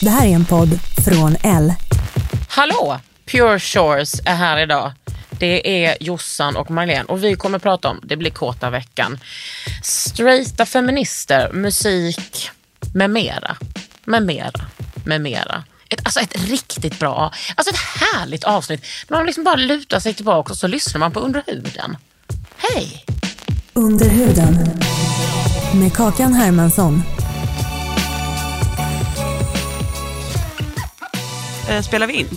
Det här är en podd från L. Hallå! Pure Shores är här idag. Det är Jossan och Marlene och vi kommer prata om, det blir kåta veckan, straighta feminister, musik med mera. Med mera. Med mera. Ett, alltså ett riktigt bra, alltså ett härligt avsnitt. där Man liksom bara lutar sig tillbaka och så lyssnar man på Under huden. Hej! Under huden. Med Kakan Hermansson. eh, spelar vi in.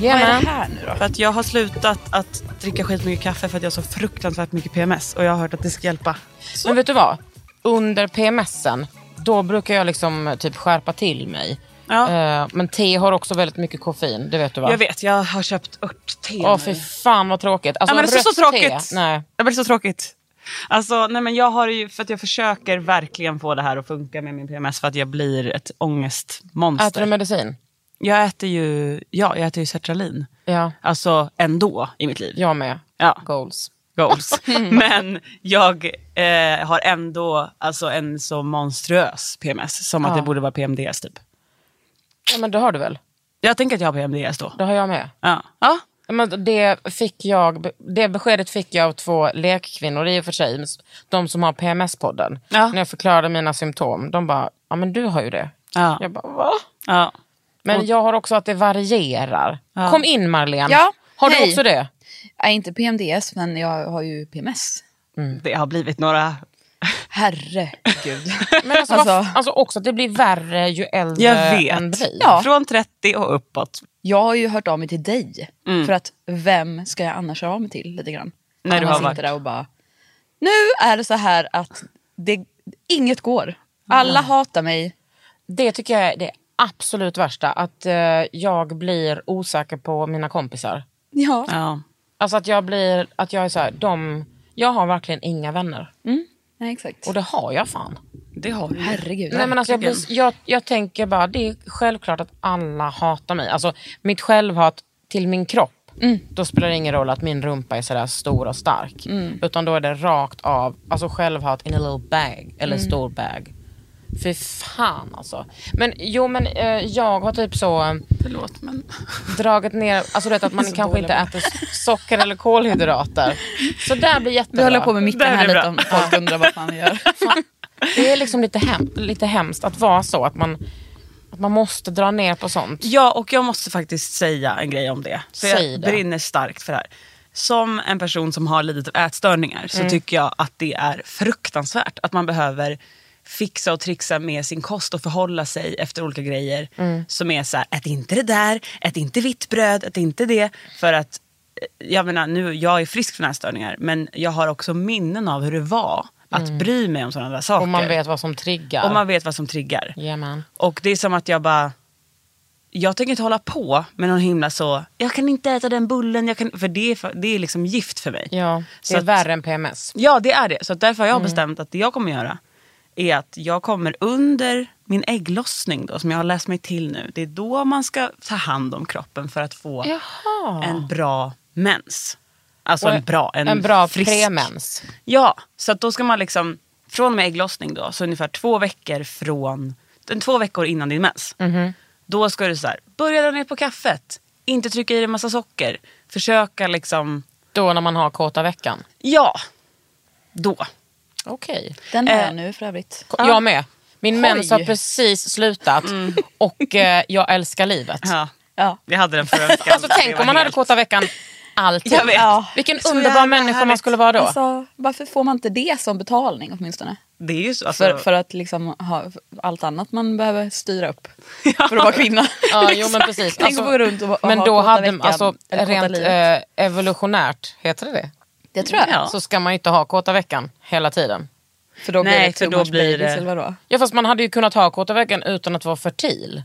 Vad är det här nu då? För att jag har slutat att dricka skitmycket kaffe för att jag har så fruktansvärt mycket PMS och jag har hört att det ska hjälpa. Men vet du vad? Under PMSen, då brukar jag liksom eh, typ skärpa till mig. Ja. Eh, Men te har också väldigt mycket koffein, det vet du va? Jag vet, jag har köpt örtte Åh nu. fy fan vad tråkigt. Alltså, Ja, men det är så, rött så tråkigt. Te, nej. Ja, men det är så tråkigt. Alltså, nej, men jag har det ju, för att jag försöker verkligen få det här att funka med min PMS för att jag blir ett Äter ångestmonster. du medicin? Jag äter ju, ja, jag äter ju sertralin. Ja. Alltså ändå i mitt liv. Jag med. Ja. Goals. goals. Men jag eh, har ändå alltså, en så monstruös PMS som att Ja. det borde vara PMDS typ. Ja, men det har du väl? Jag tänker att jag har PMDS då. Det har jag med. Ja. ja. Ja, Men det, fick jag, det beskedet fick jag av två lekkvinnor i och för sig. De som har PMS-podden. Ja. När jag förklarade mina symptom. De bara, ja men du har ju det. Ja. Jag bara, va? ja. Men jag har också att det varierar. Kom in Marlene. Ja, Har du hej. också det? Nej, inte PMDS, men jag har ju PMS. Det har blivit några... Herregud. Men alltså, Alltså- varf- alltså också att det blir värre ju äldre Jag en vet. blir. Ja. eh, Från 30 och uppåt. jag har ju hört av mig till dig. För att vem ska jag annars höra av mig till lite grann? När du har man sitter varit- där och bara, nu är det så här att det, inget går. Alla hatar mig. Det tycker jag är det absolut värsta. Att eh, jag blir osäker på mina kompisar. Ja. Ja. Alltså att jag blir, att jag är så här, de, jag har verkligen inga vänner. Nej, exakt. Och det har jag fan. Det har du. Herregud. Nej, men alltså jag, blir, jag, jag tänker bara, det är självklart att alla hatar mig. Alltså mitt självhat till min kropp, Mm. då spelar det ingen roll att min rumpa är sådär stor och stark. Mm. Utan då är det rakt av, alltså självhat in a little bag, eller Mm. stor bag. Fy fan alltså. Men jo men eh, jag har typ så... Förlåt, men... dragit ner, alltså du vet att man kanske inte äter socker eller kolhydrater. Så där blir jättebra. Vi håller på med mitten Det här här blir lite bra. om folk undrar vad fan vi gör. Det är liksom lite, hem, lite hemskt att vara så, att man, att man måste dra ner på sånt. Ja, och jag måste faktiskt säga en grej om det. För Säg jag det. brinner starkt för det här. Som en person som har lidit av ätstörningar så Mm. tycker jag att det är fruktansvärt att man behöver fixa och trixa med sin kost och förhålla sig efter olika grejer Mm. som är så här, ät inte det där, ät inte vitt bröd, ät inte det. För att, eh, jag menar, nu, jag är frisk från ätstörningar men jag har också minnen av hur det var att bry mig om sådana där saker. Mm. Och man vet vad som triggar. och man vet vad som triggar. Jajamän. Och det är som att jag bara, jag tänker inte hålla på med någon himla så, jag kan inte äta den bullen, jag kan, för det är, för, det är liksom gift för mig. Ja, Mm. det Så är att- värre än PMS. Ja det är det, så att därför har jag bestämt att det jag kommer göra är att jag kommer under min ägglossning då, som jag har läst mig till nu, det är då man ska ta hand om kroppen för att få Jaha. en bra mens. Alltså Och en bra, en, en bra frisk. premens. Ja, så att då ska man liksom, från och med ägglossning då, så ungefär två veckor från, den två veckor innan din mens. Då ska du så här, börja dra ner på kaffet, inte trycka i dig massa socker, försöka liksom, Då när man har kåta veckan. ja, då. Okej. Den har Eh. Eh. jag nu för övrigt. Ko- Jag med. Min mens har precis slutat och eh, jag älskar livet. Mm. Ja, Ja. jag hade den förra veckan. Alltså tänk om man hade kåta veckan alltid. Jag vet. Ja. Vilken Så underbar jävla människa man härligt. skulle vara då. Alltså, varför får man inte det som betalning åtminstone? Det är ju så. Alltså, För, för att liksom ha allt annat man behöver styra upp för att vara kvinna. ja, jo, Liksom. men precis. Alltså, Tänk Alltså, att gå runt och, och men ha då kåta hade veckan, man, alltså, eller kåta rent livet. eh, evolutionärt, heter det det? det tror jag. Ja. Så ska man ju inte ha kåta veckan hela tiden. För då Nej, blir det för too då much blir babies, det- eller vadå? Ja fast man hade ju kunnat ha kåta veckan utan att vara fertil.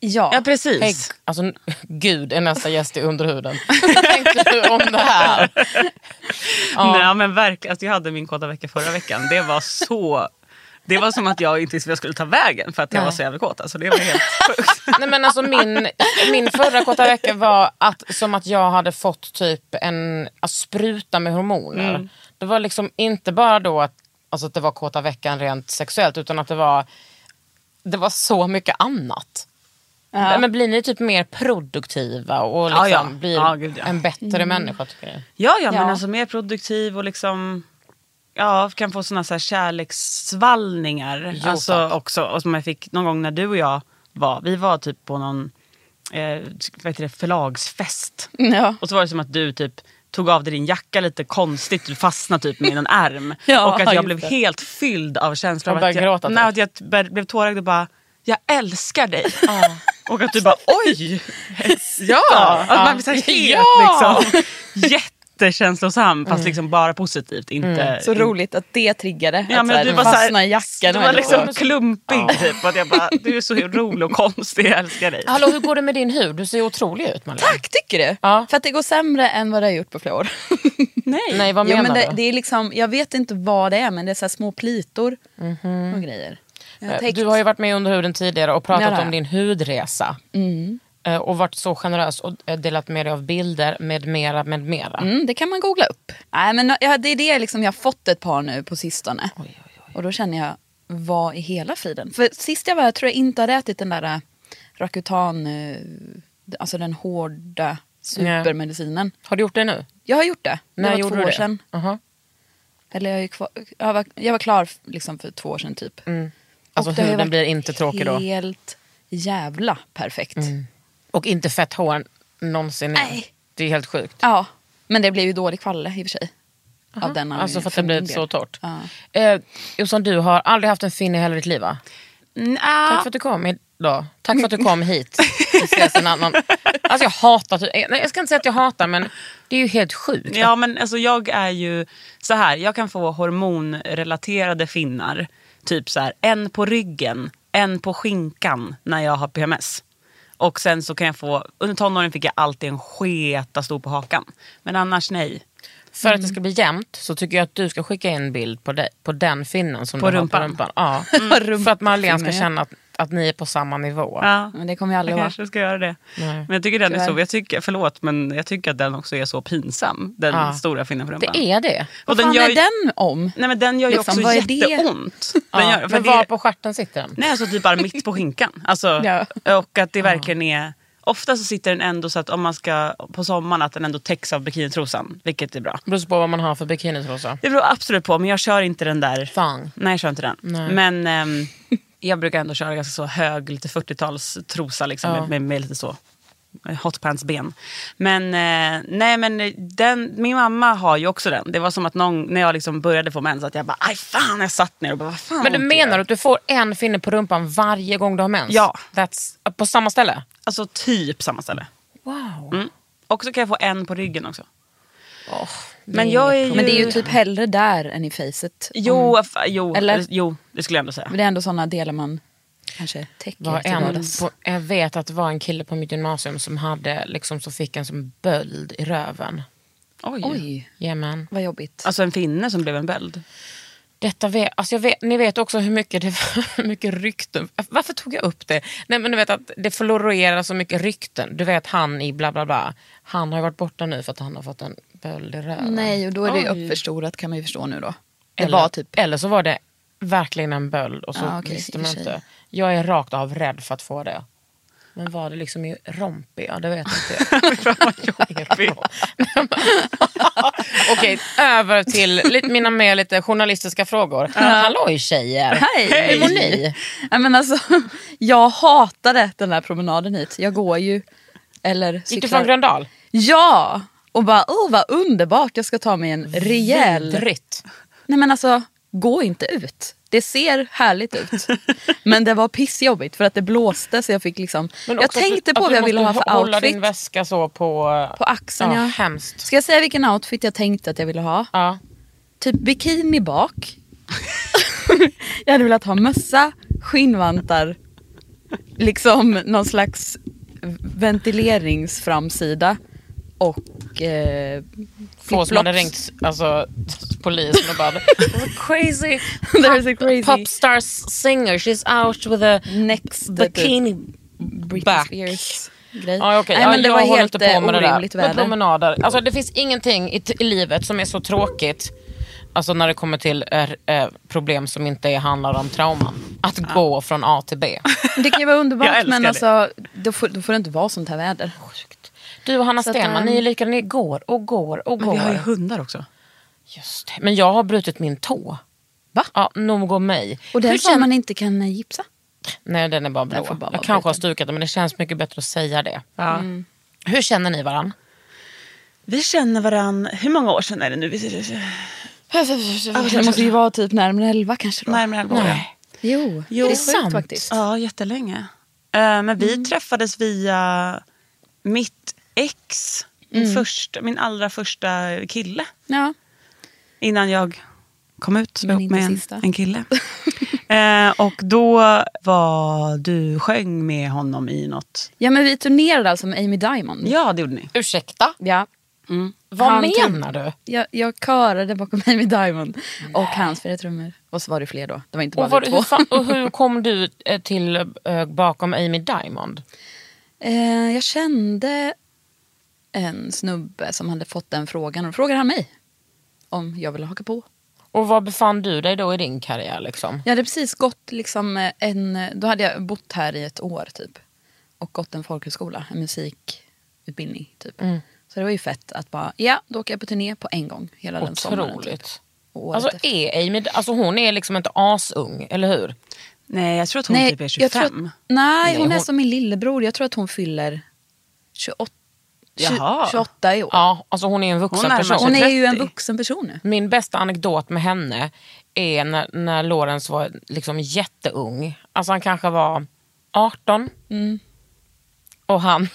Ja. Ja, precis. Hey, alltså, n- gud är nästa gäst i underhuden. Vad tänkte du om det här? Nej, men verkligen. Alltså, jag hade min kåta vecka förra veckan. Det var så... Det var som att jag inte visste vad jag skulle ta vägen för att jag Nej. var så jävla kåt. Alltså, det var helt sjukt. Nej, men alltså min, min förra korta vecka var att, som att jag hade fått typ en alltså, spruta med hormoner. Mm. Det var liksom inte bara då att, alltså, att det var korta veckan rent sexuellt utan att det var, det var så mycket annat. Ja. Men blir ni typ mer produktiva och liksom Ja, ja. blir Ja, gud, ja. Mm. en bättre människa tycker ni? Ja, ja, men Ja. alltså mer produktiv och liksom... Ja, kan få såna så här kärlekssvallningar. Jo, alltså tack. också, och som jag fick någon gång när du och jag var. Vi var typ på någon eh, vad heter det, förlagsfest. Ja. Och så var det som att du typ tog av dig din jacka lite konstigt. Du fastnade typ med en ärm. Ja, och att jag just blev det. helt fylld av känslan Och av att jag, började gråta, typ. nej, att jag bör- blev tårögd och bara, jag älskar dig. Och att du bara, oj! Ja! Att man blir så här helt Ja. liksom, jättekänslosam fast liksom bara positivt. Inte, Mm. Så roligt att det triggade. Mm. Ja, att men så du här, var så här- fastna i jackan. Du och var ändå- liksom klumpig typ. Att jag bara, du är så rolig och konstig, jag älskar dig. Hallå hur går det med din hud? Du ser otrolig ut Malin. Tack tycker du! Ja. För att det går sämre än vad det har gjort på flera år. Nej. Nej vad Jo, menar men det, du? det är liksom, jag vet inte vad det är men det är så här små plitor och grejer. Jag Mhm. har Eh, täckt- Du har ju varit med i Under huden tidigare och pratat Ja, det har om jag. din hudresa. Mm. Eh, Och varit så generös och eh, delat med dig av bilder med mera, med mera. Mm, det kan man googla upp. Nej, men ja, det är det liksom jag har fått ett par nu på sistone. Och då känner jag, vad i hela friden? För sist jag var här tror jag inte hade ätit den där äh, Rakutan, eh, alltså den hårda supermedicinen. Har du gjort det nu? Jag har gjort det. Det När var gjorde två du år det? sedan. Aha. Eller jag, är kvar, jag, var, jag var klar f- liksom för två år sedan typ. Alltså, Och det har ju huden varit blir inte tråkig då? Mm. Helt jävla perfekt. Och inte fett hår någonsin igen. Nej. Det är helt sjukt. Ja, men det blev ju dålig kvalle i och för sig. Av den Alltså anledningen, för att det min blir del. så torrt. Ja. Eh, Jossan, du har aldrig haft en fin i hela ditt liv va? Tack Nja. för att du kom idag. Tack för att du kom hit. Vi ses en annan... Alltså jag hatar... Nej, jag ska inte säga att jag hatar men det är ju helt sjukt. Ja men alltså jag är ju så här, jag kan få hormonrelaterade finnar. Typ så här, en på ryggen, en på skinkan när jag har PMS. Och sen så kan jag få, under tonåren fick jag alltid en sketa stor på hakan. Men annars nej. För Mm. att det ska bli jämnt så tycker jag att du ska skicka in en bild på, dig, på den finnen som På du rumpan. Mm. har på rumpan. Ja. För att Marlene ska känna att, att ni är på samma nivå. Ja, Men det kommer jag aldrig jag vara. kanske ska göra det. Nej. Men jag tycker den är Tyvärr. så, jag tycker, förlåt men jag tycker att den också är så pinsam. Den Ja. stora finnen på rumpan. Det är det. Och Vad den fan gör, är den om? Nej men den gör ju Liksom, också vad är det? jätteont. Ja. Den gör, för Men det- var på stjärten sitter den? Nej, alltså typ bara mitt på skinkan. Alltså, Ja. Och att det verkligen är... Ofta så sitter den ändå så att om man ska på sommaren att den ändå täcks av bikinitrosan, vilket är bra. Det beror på vad man har för bikinitrosa. Det beror absolut på, men jag kör inte den där... Thong. Nej, jag kör inte den. Men ehm, jag brukar ändå köra ganska så hög, lite 40-talstrosa liksom, med, med, med lite så hotpants-ben. Men, eh, nej, men den, min mamma har ju också den. Det var som att någon, när jag liksom började få mens att jag bara, aj fan, jag satt ner och bara, vad fan Men du vad ont det gör." menar att du får en finne på rumpan varje gång du har mens? Ja. That's, på samma ställe? Alltså typ samma ställe. Wow. Mm. Och så kan jag få en på ryggen också. Det Men är jag inget är ju... Men det är ju typ hellre där än i facet. Jo, Mm. f- jo, Eller? eller? jo, det skulle jag ändå säga. Men det är ändå sådana delar man kanske täcker. var till en, vardags. på, jag vet att det var en kille på mitt gymnasium som hade liksom, så fick en som böld i röven. Oj. Oj, Jajamän. vad jobbigt. Alltså en finne som blev en böld. Detta vet, alltså jag vet, ni vet också hur mycket, det, hur mycket rykten... Varför tog jag upp det? Nej, men du vet att Det florerar så mycket rykten. Du vet han i bla bla bla. Han har ju varit borta nu för att han har fått en böld i röven. Nej, och då är det ju Alltså, Oj. uppförstorat kan man ju förstå nu då. Det eller, var typ... eller så var det verkligen en böld och så Ja, okej, visste i och man för sig. inte. Jag är rakt av rädd för att få det. Men var det liksom i rompig? Ja, det vet inte jag. jobbig. Okej, över till lite, mina mer lite journalistiska frågor. Halloj tjejer! Hej! Hur mår ni? Nej, men alltså, jag hatade den där promenaden hit. Jag går ju. Eller Gick du från Gröndal? Ja! Och bara, åh vad underbart, jag ska ta mig en rejäl... Vidrigt. Nej men alltså, gå inte ut. Det ser härligt ut. men det var pissjobbigt för att det blåste så jag fick liksom... Men jag också att du- tänkte att på vad du jag ville ha måste för hå- hålla outfit. din väska så på... På axeln ja. ja. Hemskt. Ska jag säga vilken outfit jag tänkte att jag ville ha? Ja. Typ bikini bak. jag hade velat ha mössa, skinnvantar, liksom någon slags ventileringsframsida och eh, Få som hade flipflops. ringt alltså, polisen och bara crazy There's a crazy popstar singer, she's out with a next bikini Britney back. Spears grej. Ja, okej. Nej, ja, men det jag var håller helt eh, inte på med det där. orimligt Men väder. promenader. Alltså, det finns ingenting i, t- i livet som är så tråkigt alltså, när det kommer till eh, eh, problem som inte är, handlar om trauman. Att gå från A till B. Det kan ju vara Jag underbart älskar men det. alltså, då, får, då får det inte vara sånt här väder. Du och Hanna Så att, Stenman, ehm, ni är likadana. Ni går och går och Men vi har ju går. hundar också. Just det. Men jag har brutit min tå. Va? Ja, nog om mig. Och Hur känner- den som man inte kan eh, gipsa. Nej, den är bara blå. Den får bara jag vara kanske har bruten. stukat den, men det känns mycket bättre att säga det. Mm. Ja. Hur känner ni varann? Vi känner varandra, hur många år sedan är det nu? Vi- Alltså, Det måste ju vara typ närmare elva kanske då. Närmare elva år. ja. Nej. Jo, Jo. det är Sant. sjukt faktiskt. Ja, jättelänge. Eh, men vi träffades via mitt ex, min, första, min allra första kille. Ja. Innan jag kom ut Men ihop med inte en, sista. en kille. eh, och då var du sjöng med honom i något. ja men vi turnerade alltså med Amy Diamond. Ja, det gjorde ni. Ursäkta, Ja. vad Han tog- menar du? Jag, jag körade bakom Amy Diamond och hans fyra trummor. Och så var det fler då. Det var inte bara Och, var, vi hur, två. fan, och hur kom du eh, till eh, bakom Amy Diamond? Eh, jag kände en snubbe som hade fått den frågan och då frågade han mig om jag ville haka på. Och var befann du dig då i din karriär? Liksom? Jag hade precis gått liksom eh, en, då hade jag bott här i ett år typ. Och gått en folkhögskola, en musikutbildning typ. Så det var ju fett att bara, ja då åker jag på turné på en gång hela den sommaren. Typ. Otroligt. Och året Alltså, efter. är Amy, alltså hon är liksom inte asung, eller hur? Nej, jag tror att hon typ är 25. jag tror att, nej, hon är hon- som min lillebror. Jag tror att hon fyller 28, Jaha. 28 i år. Ja, alltså hon är en Hon vuxen närmar sig person. Hon är ju en 30. vuxen person nu. Min bästa anekdot med henne är när, när Lorenz var liksom jätteung. Alltså han kanske var 18. Och han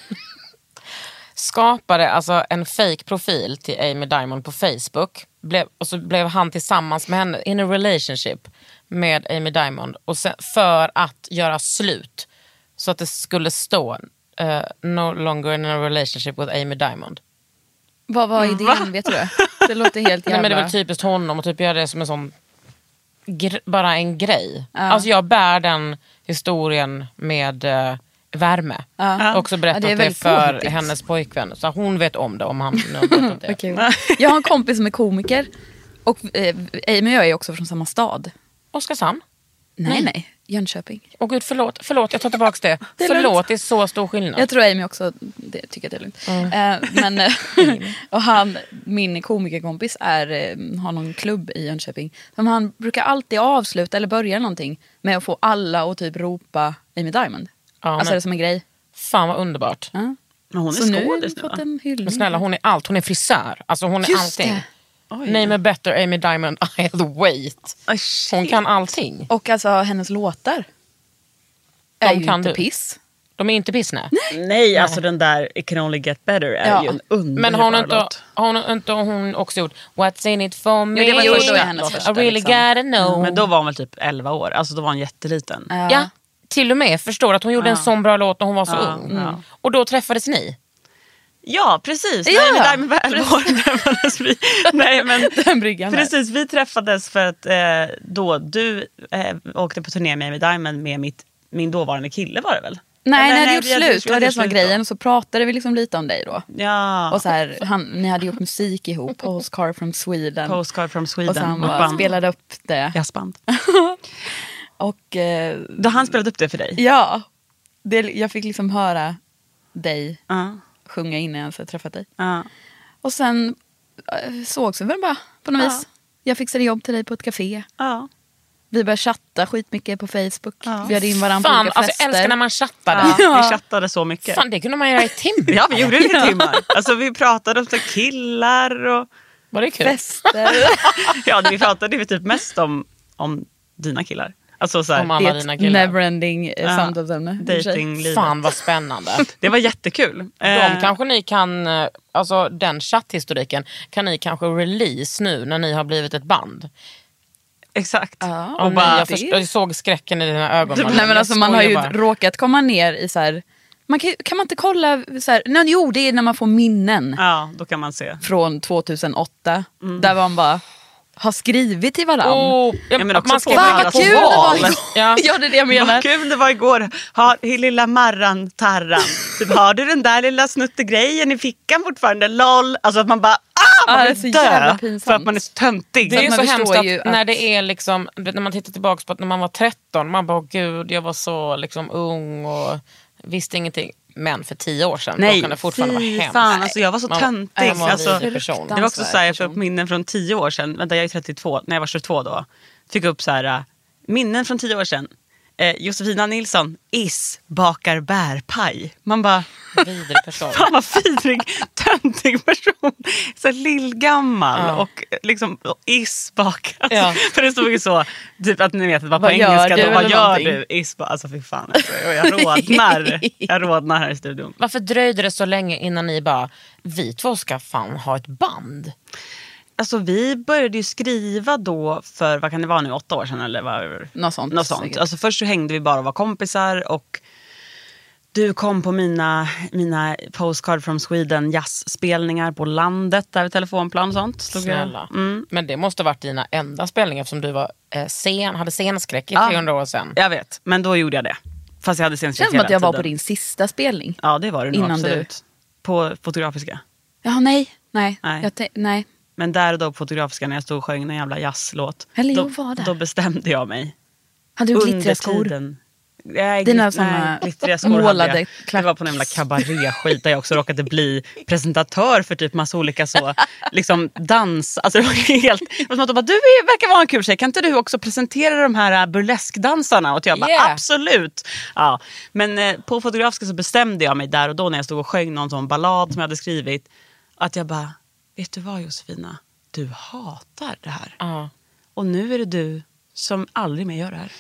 skapade alltså en fake profil till Amy Diamond på Facebook. Blev, och så blev han tillsammans med henne, in a relationship med Amy Diamond. Och sen, för att göra slut. Så att det skulle stå eh, no longer in a relationship with Amy Diamond. Vad var idén vet du? Det låter helt jävla... Mm. Nej, men det är väl typiskt honom att typ göra det som en sån, gr- bara en grej. Alltså jag bär den historien med eh, värme. Ja. Också berättat Ja, det det, är väldigt för påhittigt. hennes pojkvän. Så hon vet om det om han nu har berättat det. Vad kul. Jag har en kompis som är komiker. Och eh, Amy och jag är också från samma stad. Oskarshamn. Nej, nej. Jönköping. Åh gud förlåt, förlåt jag tar tillbaka det. Det är förlåt lugnt. det är så stor skillnad. Jag tror Amy också det, tycker att det är lugnt. Mm. Eh, men, eh, och han, min komikerkompis är, eh, har någon klubb i Jönköping. Som han brukar alltid avsluta eller börja någonting med att få alla att typ ropa Amy Diamond. Ja, alltså men- det är som en grej. Fan vad underbart. Ja. Men hon är Så nu har skådis vi nu, va? fått en hyllning. Men snälla hon är allt, hon är frisör. Alltså hon är Just allting. det. Name a better Amy Diamond I'll wait. Oj, Hon shit. kan allting. Och alltså hennes låtar. De är ju kan inte du. piss. De är inte piss nej. Nej, alltså den där It can only get better är Ja. ju en underbar Men har hon inte, låt. har hon, inte hon också gjort What's in it for me? det var Jo, första. det var I hennes första, really liksom. gotta know. Men då var hon väl typ 11 år, alltså då var hon jätteliten. Ja. ja, till och med förstår att hon gjorde en sån bra låt när hon var så Ja, ung. ja. Och då träffades ni. Ja, precis. Ja. Nej, men där med var träffades alltså, vi. Nej, men Den bryggan där. precis, vi träffades för att eh, då du eh, åkte på turné med Amy Diamond med mitt, min dåvarande kille var det väl? Nej, Eller, ni hade nej, gjort vi hade- slut. vi Det var hade det som var gjort slut då. grejen. Och så pratade vi liksom lite om dig då. Ja, Och så här, han, ni hade gjort musik ihop. Postcard from Sweden. Postcard from Sweden. och så han vårt bara band. spelade upp det. jazzband. Och eh, Då han spelade upp det för dig? ja. det, jag fick liksom höra dig Ja, sjunga innan jag ens hade träffat dig. ja. Och sen eh, sågs vi väl bara på något Ja. vis. Jag fixade jobb till dig på ett café. ja. Vi började chatta skitmycket på Facebook. Ja. Bjöd in varandra på Fan, olika alltså, fester. jag älskar när man chattar. ja. Vi chattade så mycket. Fan, det kunde man göra i timmar. Ja, vi gjorde det i timmar. Alltså, vi pratade om så här killar och... Var det kul? fester. Ja, vi pratade ju typ mest om, om dina killar. Alltså så här, Om alla det är dina ett killar. neverending eh, Ja. samtalsämne. i och för sig. datinglivet. Fan vad spännande. Det var jättekul. De Eh, kanske ni kan, eh, alltså den chatthistoriken kan ni kanske release nu när ni har blivit ett band. Exakt. Ja, Och men bara, jag jag, först- jag såg skräcken i dina ögon. Malin. Nej men Jag alltså man har ju skojar bara. råkat komma ner i så här, man kan, ju- kan man inte kolla, så här, nej, jo det är när man får minnen Ja, då kan man se. från 2008 där man bara har skrivit till varandra. Oh, ja, men också man ska på Fan alla vara vad på kul det var val. igår! Ja. Ja. det är det jag menar. Vad kul det var igår. Ha, i lilla Marran Tarran. Typ, har du den där lilla snuttegrejen i fickan fortfarande? LOL. Alltså att man bara ah, man Ja, det är vill så dö jävla pinsamt. för att man är så töntig. Det är ju man så förstår hemskt att, ju att- när det är liksom, du vet, när man tittar tillbaka på att när man var 13, man bara "Åh, gud jag var så liksom ung och visste ingenting. Men för tio år sedan, då kan det fortfarande vara fy hemskt. fan, alltså jag var så Man- töntig. man var en alltså, vidrig person. det var också så här, jag person. fick upp minnen från tio år sedan. Vänta, jag är 32, när jag var 22 då. Fick upp så här, äh, minnen från tio år sedan. Eh, Josefina Nilsson, is bakar bärpaj. Man bara, Vidrig person. fan vad fidrig, töntig person. Så här lillgammal Ja. och eh, liksom och is bakar. Alltså, Ja. För det stod ju så, typ att ni vet, det var på Vad gör engelska du då. Vad eller gör någonting? du? Is bakar, alltså fy fan. Alltså, jag- jag rodnar. jag rodnar här i studion. Varför dröjde det så länge innan ni bara, vi två ska fan ha ett band? Alltså vi började ju skriva då för, vad kan det vara nu, åtta år sedan eller vad? Något sånt, Något sånt. säkert. Alltså först så hängde vi bara och var kompisar och du kom på mina, mina Postcard from Sweden jazzspelningar på landet där vid telefonplan och sånt. Stod jag- Snälla. Mm. Men det måste varit dina enda spelningar eftersom du var, eh, sen, hade scenskräck i Ja. 300 år sedan. Jag vet, men då gjorde jag det. Fast jag hade sen känns som att jag var på din sista spelning. Ja det var du nog innan absolut. På Fotografiska. Ja nej, nej. Nej. Jag te- nej. Men där och då på Fotografiska när jag stod och sjöng någon jävla jazzlåt. Eller då, jag var där. då bestämde jag mig. Hade du glittriga skor? Nej, Dina glitt- såna nej, glittriga skor hade målade jag. Det var på någon jävla kabaréskit där jag också råkade bli presentatör för typ massa olika så, liksom dans. Alltså det var helt... Det var som att de bara, du är, verkar vara en kul tjej, kan inte du också presentera de här äh, burleskdansarna? Och jag bara, Yeah. absolut! Ja. Men eh, på Fotografiska så bestämde jag mig där och då när jag stod och sjöng någon sån ballad som jag hade skrivit, att jag bara, vet du vad Josefina? Du hatar det här. Ja. Och nu är det du som aldrig mer gör det här.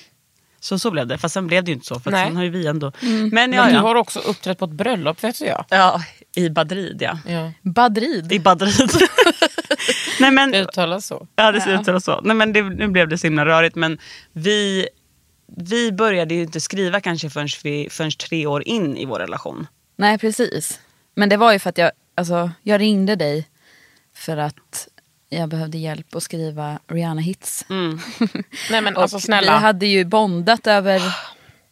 Så så blev det. Fast sen blev det ju inte så. För Nej. att sen har ju vi ändå... Mm. Men ja, Men du ja. har också uppträtt på ett bröllop vet jag. ja. I Badrid ja. Ja. Badrid. I Badrid. Nej men... Det uttalas så. Ja det ser ut så. Nej men det, nu blev det så himla rörigt. Men vi, vi började ju inte skriva kanske förrän, vi, förrän tre år in i vår relation. Nej precis. Men det var ju för att jag, alltså, jag ringde dig för att jag behövde hjälp att skriva Rihanna hits. Mm. Nej men Och alltså Vi snälla. hade ju bondat över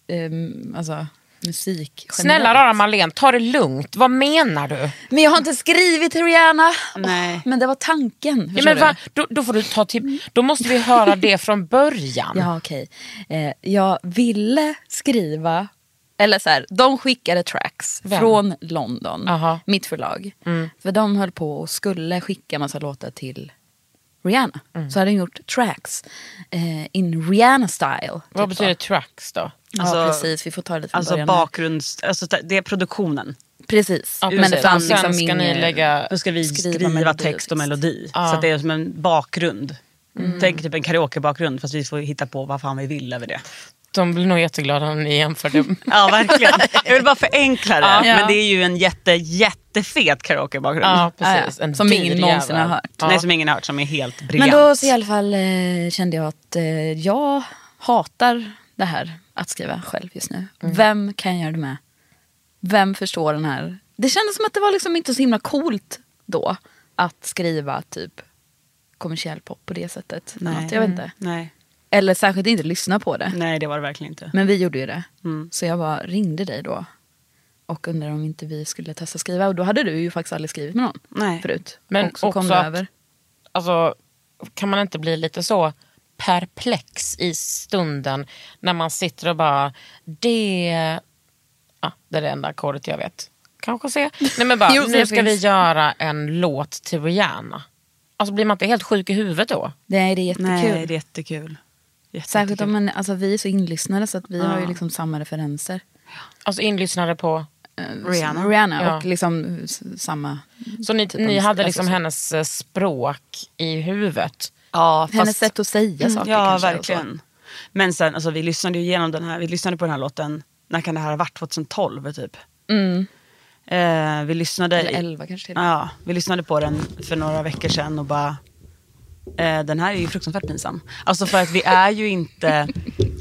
ehm, alltså, musik. generellt. Snälla rara Malén, ta det lugnt. Vad menar du? Men jag har inte skrivit till Rihanna. Nej. Åh, men det var tanken. Ja, förstår men du? va, då, då, får du ta till, då måste vi höra det från början. Ja, okej. Eh, jag ville skriva... Eller så här, de skickade tracks Vem? från London, Aha. Mm. mitt förlag. För de höll på och skulle skicka massa låtar till Rihanna. Mm. Så hade de gjort tracks eh, in Rihanna-style. Vad typ så. betyder tracks då? ja, Alltså- precis. Vi får ta det lite från Alltså början. bakgrunds... Alltså det är produktionen. Precis. Ja, Men det precis. fanns Och sen liksom ska ni ingen- lägga... Då ska vi Skriva skriva, melodi, text och visst. melodi. Ja. Så att det är som en bakgrund. Tänk typ en karaokebakgrund fast vi får hitta på vad fan vi vill över det. De blir nog jätteglada när ni jämför det. Ja verkligen. Jag vill bara förenkla det. Ja. Men det är ju en jätte, jättefet karaokebakgrund. Ja, Ja, precis. ja. En Som dyr ingen någonsin jävel. har hört. Ja. Nej, som ingen har hört som är helt Men briljant. då så i alla fall eh, kände jag att eh, jag hatar det här att skriva själv just nu. Mm. Vem kan jag göra det med? Vem förstår den här? Det kändes som att det var liksom inte så himla coolt då att skriva typ kommersiell pop på det sättet. Nej. Något, jag vet inte. Nej. Eller särskilt inte lyssna på det. Nej Mm. det var det verkligen inte. Men vi gjorde ju det. Så jag bara ringde dig då och undrade om inte vi skulle testa skriva. Och då hade du ju faktiskt aldrig skrivit med någon Nej. förut. Men och så också kom du att- över. alltså, kan man inte bli lite så perplex i stunden när man sitter och bara, det Ja, det är det enda ackordet jag vet. Kanske se. Nej men bara, Jo, nu det ska finns. vi göra en låt till Rihanna. Alltså blir man inte helt sjuk i huvudet då? Nej, det är jättekul. Nej, det är jättekul. Jätte- Särskilt jättekul. om man, alltså, vi är så inlyssnade så att vi har ju liksom samma referenser. Alltså inlyssnade på... Rihanna. Rihanna Ja. och liksom s- samma. Så ni, om- ni hade alltså liksom så. hennes eh, språk i huvudet? Ja, fast... Mm. Hennes sätt att säga saker Ja, kanske. och så. verkligen. Men sen, alltså, vi lyssnade ju igenom den här, vi lyssnade på den här låten, när kan det här ha varit? 2012 typ. Mm. Eh, vi lyssnade... Eller elva kanske till och med. Ja, vi lyssnade på den för några veckor sedan och bara... Eh, den här är ju fruktansvärt pinsam. Alltså för att vi är ju inte,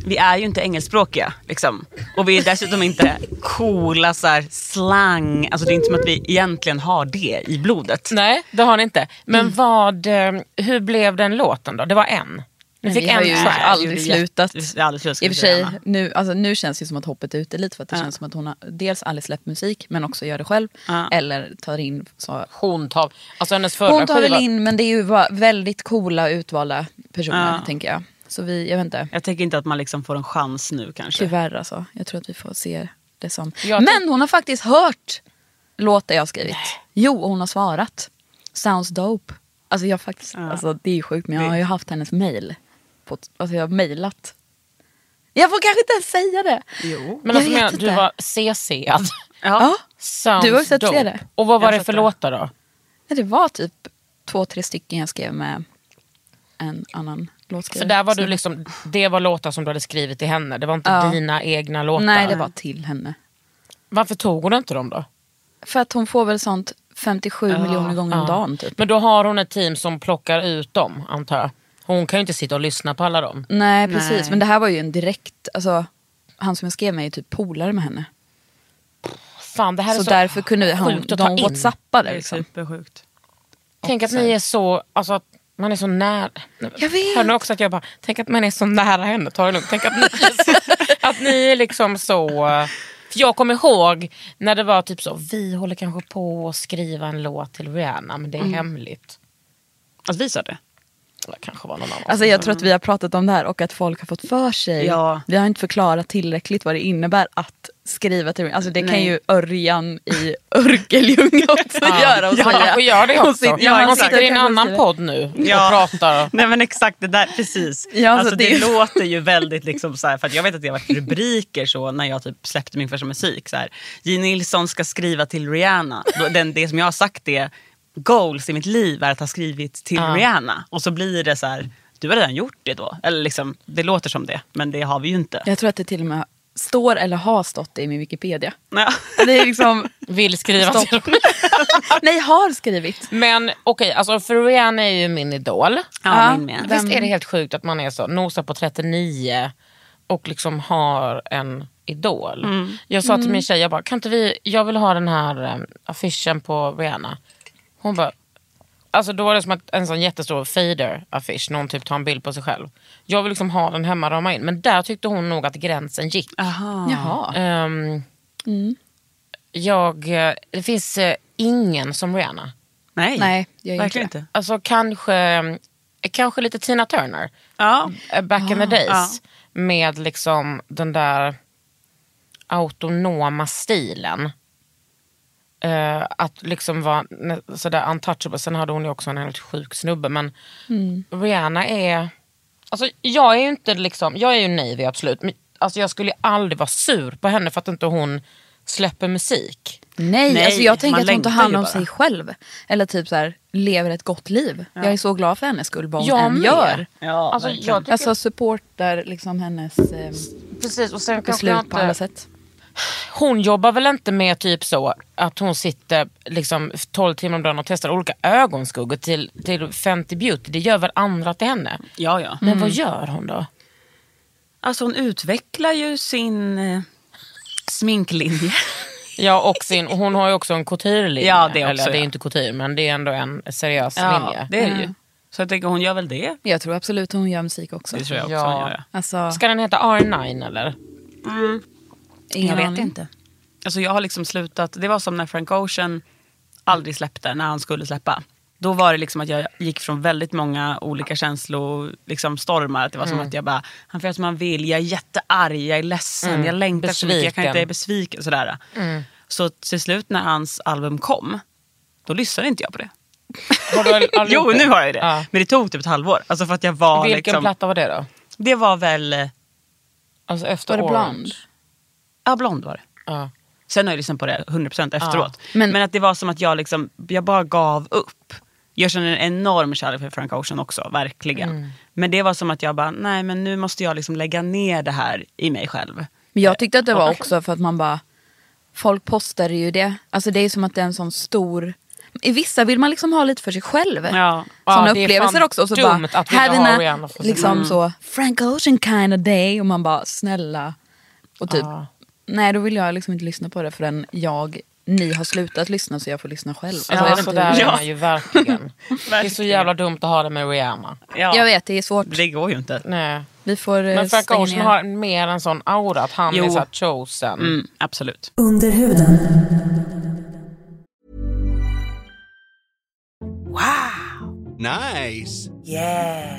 vi är ju inte engelskspråkiga. Liksom. Och vi är dessutom inte coola så här, slang. Alltså det är inte som att vi egentligen har det i blodet. Nej, det har ni inte. Men Mm. vad, eh, hur blev den låten då? Det var en. Ni Men fick vi har en ju kvar. aldrig gjorde slutat. jätte- vi har aldrig slutat I och skriva för sig, Rihanna. nu, alltså, nu känns det som att hoppet är ute lite för att det Ja. känns som att hon har dels aldrig släppt musik men också gör det själv. Ja. Eller tar in så Hon tar, alltså hennes förra Hon tar väl skiva- in, men det är ju bara väldigt coola utvalda personer Ja. tänker jag. Så vi, jag vet inte. Jag tänker inte att man liksom får en chans nu kanske. Tyvärr alltså. Jag tror att vi får se det som. Jag tänk- men hon har faktiskt hört låtar jag har skrivit. Jo, och hon har svarat. Sounds dope. Alltså jag har faktiskt, alltså det är ju sjukt men jag har ju haft hennes mail. På, alltså jag har mailat. Jag får kanske inte ens säga det. Jo. Men alltså, men, du var CC'ad. Ja. Sounds Du har ju sett dope. flera. Och vad var Jag det har för sett det. låtar då? Men Det var typ två, tre stycken jag skrev med en annan För låtskrivare. där var Så- du liksom, det var låtar som du hade skrivit till henne. Det var inte Ja. dina egna låtar. Nej, det var till henne. Varför tog hon inte dem då? För att hon får väl sånt 57 miljoner gånger om dagen typ. Men då har hon ett team som plockar ut dem, antar jag. Hon kan ju inte sitta och lyssna på alla dem. Nej, precis. Men det här var ju en direkt... Alltså, han som jag skrev med är ju typ polare med henne. Fan, det här Så, är så därför kunde han, sjukt att ta de in. whatsappade. Det är Liksom. supersjukt. Tänk att ni är så, alltså att man är så nära. Jag vet. Hör ni också att jag bara, tänk att man är så nära henne, ta det lugnt. Tänk att ni är så, att ni är liksom så. eh, För jag kommer ihåg när det var typ så, vi håller kanske på att skriva en låt till Rihanna men det är Mm. hemligt. Att vi sa det. Det kanske var någon annan. Alltså, jag tror att vi har pratat om det här och att folk har fått för sig. Ja. Vi har inte förklarat tillräckligt vad det innebär att skriva till Alltså Det kan Nej. ju Örjan i Örkeljunga också göra. Och Han säga. kanske gör det Hon också. sitter- Hon, ja, exakt. sitter i en Hon annan skriver. podd nu och Ja. pratar. Nej men exakt, det där, precis. Ja, alltså, så det det är- låter ju väldigt liksom så här, för att jag vet att det har varit rubriker så när jag typ släppte min första musik. Så här, J. Nilsson ska skriva till Rihanna. Då- Den, det som jag har sagt är goals i mitt liv är att ha skrivit till Rihanna. Och så blir det så här, du har redan gjort det då. Eller liksom, det låter som det, men det har vi ju inte. Jag tror att det till och med står eller har stått det i min Wikipedia. Ja. Det är liksom... Vill skriva Stopp. till Nej, har skrivit. Men okej, alltså, för Rihanna är ju min idol. Ja, min med. Visst är det helt sjukt att man är så, nosar på 39 och liksom har en idol. Jag sa till min tjej, jag bara, kan inte vi, jag vill ha den här eh, affischen på Rihanna. Hon bara, alltså då var det som att en sån jättestor fader-affisch, någon typ tar en bild på sig själv. Jag vill liksom ha den hemma, rama in. Men där tyckte hon nog att gränsen gick. Aha. Jaha. Ehm, jag, eh, det finns eh, ingen som Rihanna. Nej, Nej, jag gör verkligen inte inte. Alltså kanske, eh, kanske lite Tina Turner Ja. eh, back in the ja. Ah, days. Med liksom den där autonoma stilen. Eh, att liksom vara nä- sådär untouchable. Sen hade hon ju också en helt sjuk snubbe. Men Mm. Rihanna är... Alltså jag är ju inte liksom... Jag är ju naiv absolut. Men alltså jag skulle ju aldrig vara sur på henne för att inte hon släpper musik. Nej, Nej, alltså jag man tänker att hon tar längtar hand ju om bara. sig själv. Eller typ så här, lever ett gott liv. Jag är så glad för hennes skull, vad hon Jag än med. gör. Ja, Alltså, verkligen. jag tycker, Alltså supportar liksom hennes eh, precis, och sen kanske jag beslut på alla inte, sätt. hon jobbar väl inte med typ så att hon sitter liksom 12 timmar om dagen och testar olika ögonskuggor till, till Fenty Beauty. Det gör väl andra till henne. ja, ja. Men vad gör hon då? Alltså hon utvecklar ju sin eh, sminklinje. Ja, och sin, hon har ju också en couturelinje. Ja, det också, Eller det är ja. inte couture, men det är ändå en seriös linje. det är det ju. Så jag tänker hon gör väl det. Jag tror absolut hon gör musik också. Det tror jag också Ja. hon gör. ja. Alltså, Ska den heta R9 eller? ingen aning. Alltså jag har liksom slutat, det var som när Frank Ocean aldrig släppte när han skulle släppa. Då var det liksom att jag gick från väldigt många olika känslostormar. Liksom, stormar. att det var Mm. som att jag bara, han får göra som han vill, jag är jättearg, jag är ledsen, Mm. jag längtar så mycket, jag kan inte, jag är besviken. Sådär. Så till slut när hans album kom, då lyssnade inte jag på det. Har du, har du Jo, gjort nu har jag ju det. Ja. Men det tog typ ett halvår. Alltså för att jag var Vilken liksom, platta var det då? Det var väl, Alltså efter Var det Orange. Blond? ja blond var det. Ja. Sen har jag lyssnat på det 100% efteråt. Men- Men, att det var som att jag, liksom, jag bara gav upp. Jag känner en enorm kärlek för Frank Ocean också, verkligen. Men det var som att jag bara, nej men nu måste jag liksom lägga ner det här i mig själv. Men jag tyckte att det var också för att man bara, folk postar ju det. Alltså det är som att det är en sån stor, i vissa vill man liksom ha lite för sig själv. Ja. Såna Ja, det är upplevelser fan också. Och så dumt bara, att vi här inte är har mina, Rihanna för sig liksom så, Frank Ocean kind of day. Och man bara, snälla. Och typ, nej då vill jag liksom inte lyssna på det förrän jag, ni har slutat lyssna så jag får lyssna själv. Alltså, jag Ja, vet så inte där hur- är Ja. man ju verkligen. Det är så jävla dumt att ha det med Rihanna. Ja. Jag vet, det är svårt. Det går ju inte. Nej. Vi får eh, Mm. Men Frank stänga Ocean ner. har mer en sån aura att han är Jo. så här chosen. Mm, absolut. Under huden. Nice. Yeah.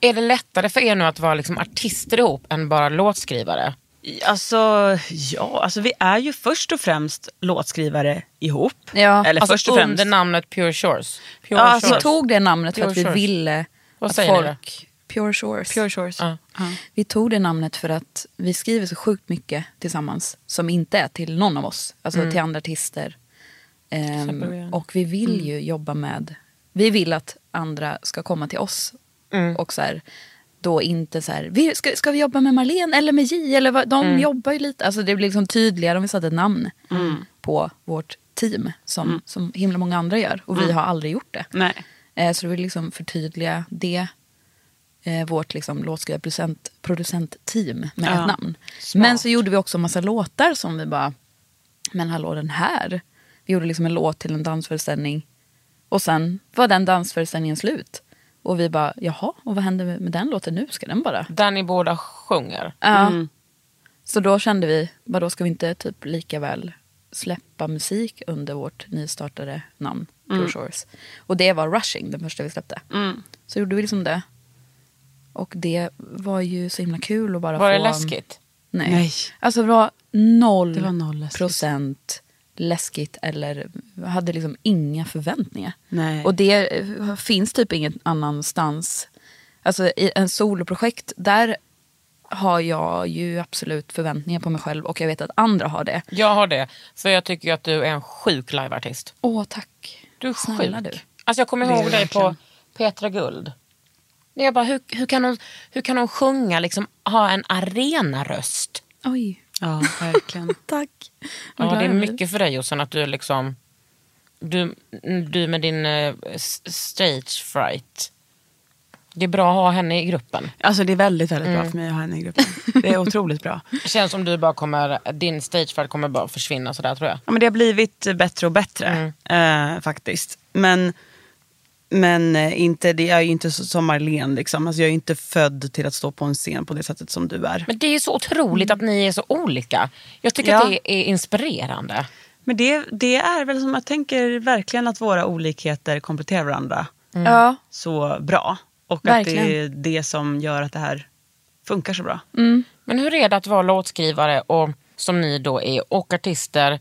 Är det lättare för er nu att vara liksom artister ihop än bara låtskrivare? Alltså, ja, alltså vi är ju först och främst låtskrivare ihop. Ja, Eller Alltså först och främst. under namnet Pure Shores. Pure Ja, alltså, Vi tog det namnet för Pure att vi Shores. ville Vad att säger ni då? folk... Pure Shores. Shores. Vi tog det namnet för att vi skriver så sjukt mycket tillsammans som inte är till någon av oss, alltså till andra artister. Ehm, och vi vill ju jobba med, vi vill att andra ska komma till oss och så här, då inte så här, vi, ska, ska vi jobba med Marlene eller med J? Eller vad, de jobbar ju lite, alltså det blir liksom tydligare om vi satte ett namn på vårt team som, som himla många andra gör och vi har aldrig gjort det. Nej. Eh, så det vill liksom förtydliga det. Eh, vårt liksom låtskrivarproducent- producentteam med ett namn. Men så gjorde vi också massa låtar som vi bara, men hallå den här. Vi gjorde liksom en låt till en dansföreställning. Och sen var den dansföreställningen slut. Och vi bara, jaha, och vad händer med med den låten nu? Ska den bara... Där ni båda sjunger. Ja. Mm. Så då kände vi, vadå ska vi inte typ lika väl släppa musik under vårt nystartade namn, Mm. Pure Shores. Och det var Rushing, den första vi släppte. Så gjorde vi liksom det. Och det var ju så himla kul att bara Var få... det läskigt? Nej. Nej. Alltså det var noll, Det var noll läskigt. procent läskigt eller jag hade liksom inga förväntningar. Nej. Och det eh, finns typ ingen annanstans. Alltså i en soloprojekt, där har jag ju absolut förväntningar på mig själv och jag vet att andra har det. Jag har det. För jag tycker ju att du är en sjuk liveartist. Åh tack. Du är Snälla sjuk. du. Alltså jag kommer Det är ihåg du dig på verkligen. Petra Guld. När Jag bara, hur, hur, kan hon, hur kan hon sjunga, liksom, ha en arenaröst? Oj, Ja, verkligen. tack. Vad Ja, glad det är jag blir. mycket för dig Jossan att du är liksom... Du, du med din eh, s- stage fright. Det är bra att ha henne i gruppen. Alltså det är väldigt, väldigt bra för mig att ha henne i gruppen. Det är otroligt bra. Det känns som du bara kommer, din stage fright kommer bara försvinna sådär tror jag. Ja, men det har blivit bättre och bättre eh, faktiskt. Men, men eh, inte, det är ju inte så, som Marlene. Liksom. Alltså, jag är ju inte född till att stå på en scen på det sättet som du är. Men, Men det är så otroligt Mm. att ni är så olika. Jag tycker att Ja. det är inspirerande. det, det är väl som jag tänker verkligen att våra olikheter kompletterar varandra Ja, så bra. Och att det är Verkligen. det som gör att det här funkar så bra. Men hur är det att vara låtskrivare och som ni då är och artister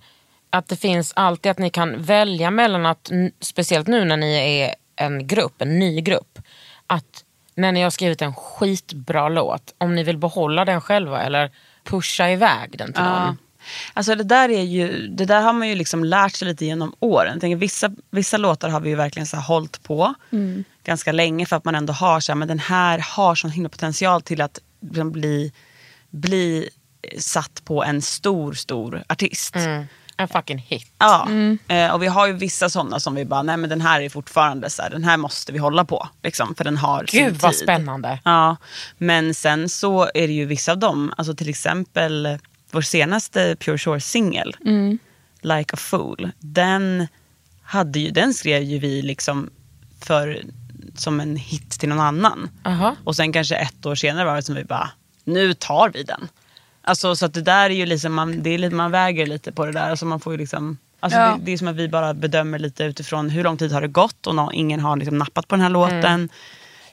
att det finns alltid att ni kan välja mellan att, n- speciellt nu när ni är en grupp, en ny grupp, att när ni har skrivit en skitbra låt, om ni vill behålla den själva eller pusha iväg den till någon. Ja. Alltså det där, är ju, det där har man ju liksom lärt sig lite genom åren. Jag tänker, vissa, vissa låtar har vi ju verkligen så här hållit på Mm. ganska länge för att man ändå har så här, men den här har sån himla potential till att liksom bli, bli satt på en stor, stor artist. Mm. En fucking hit. Ja, Mm. eh, och vi har ju vissa sådana som vi bara, nej men den här är fortfarande så här, den här måste vi hålla på. Liksom, för den har Gud sin vad tid. spännande. Ja, men sen så är det ju vissa av dem, alltså till exempel vår senaste Pure Shore-singel, Like a Fool, den, hade ju, den skrev ju vi liksom för, som en hit till någon annan. Aha. Och sen kanske ett år senare var det som vi bara, nu tar vi den. Alltså så att det där är ju liksom, man, det är lite, man väger lite på det där. Alltså man får ju liksom, alltså Ja. det, det är som att vi bara bedömer lite utifrån hur lång tid har det gått och nå- ingen har liksom nappat på den här Mm. låten.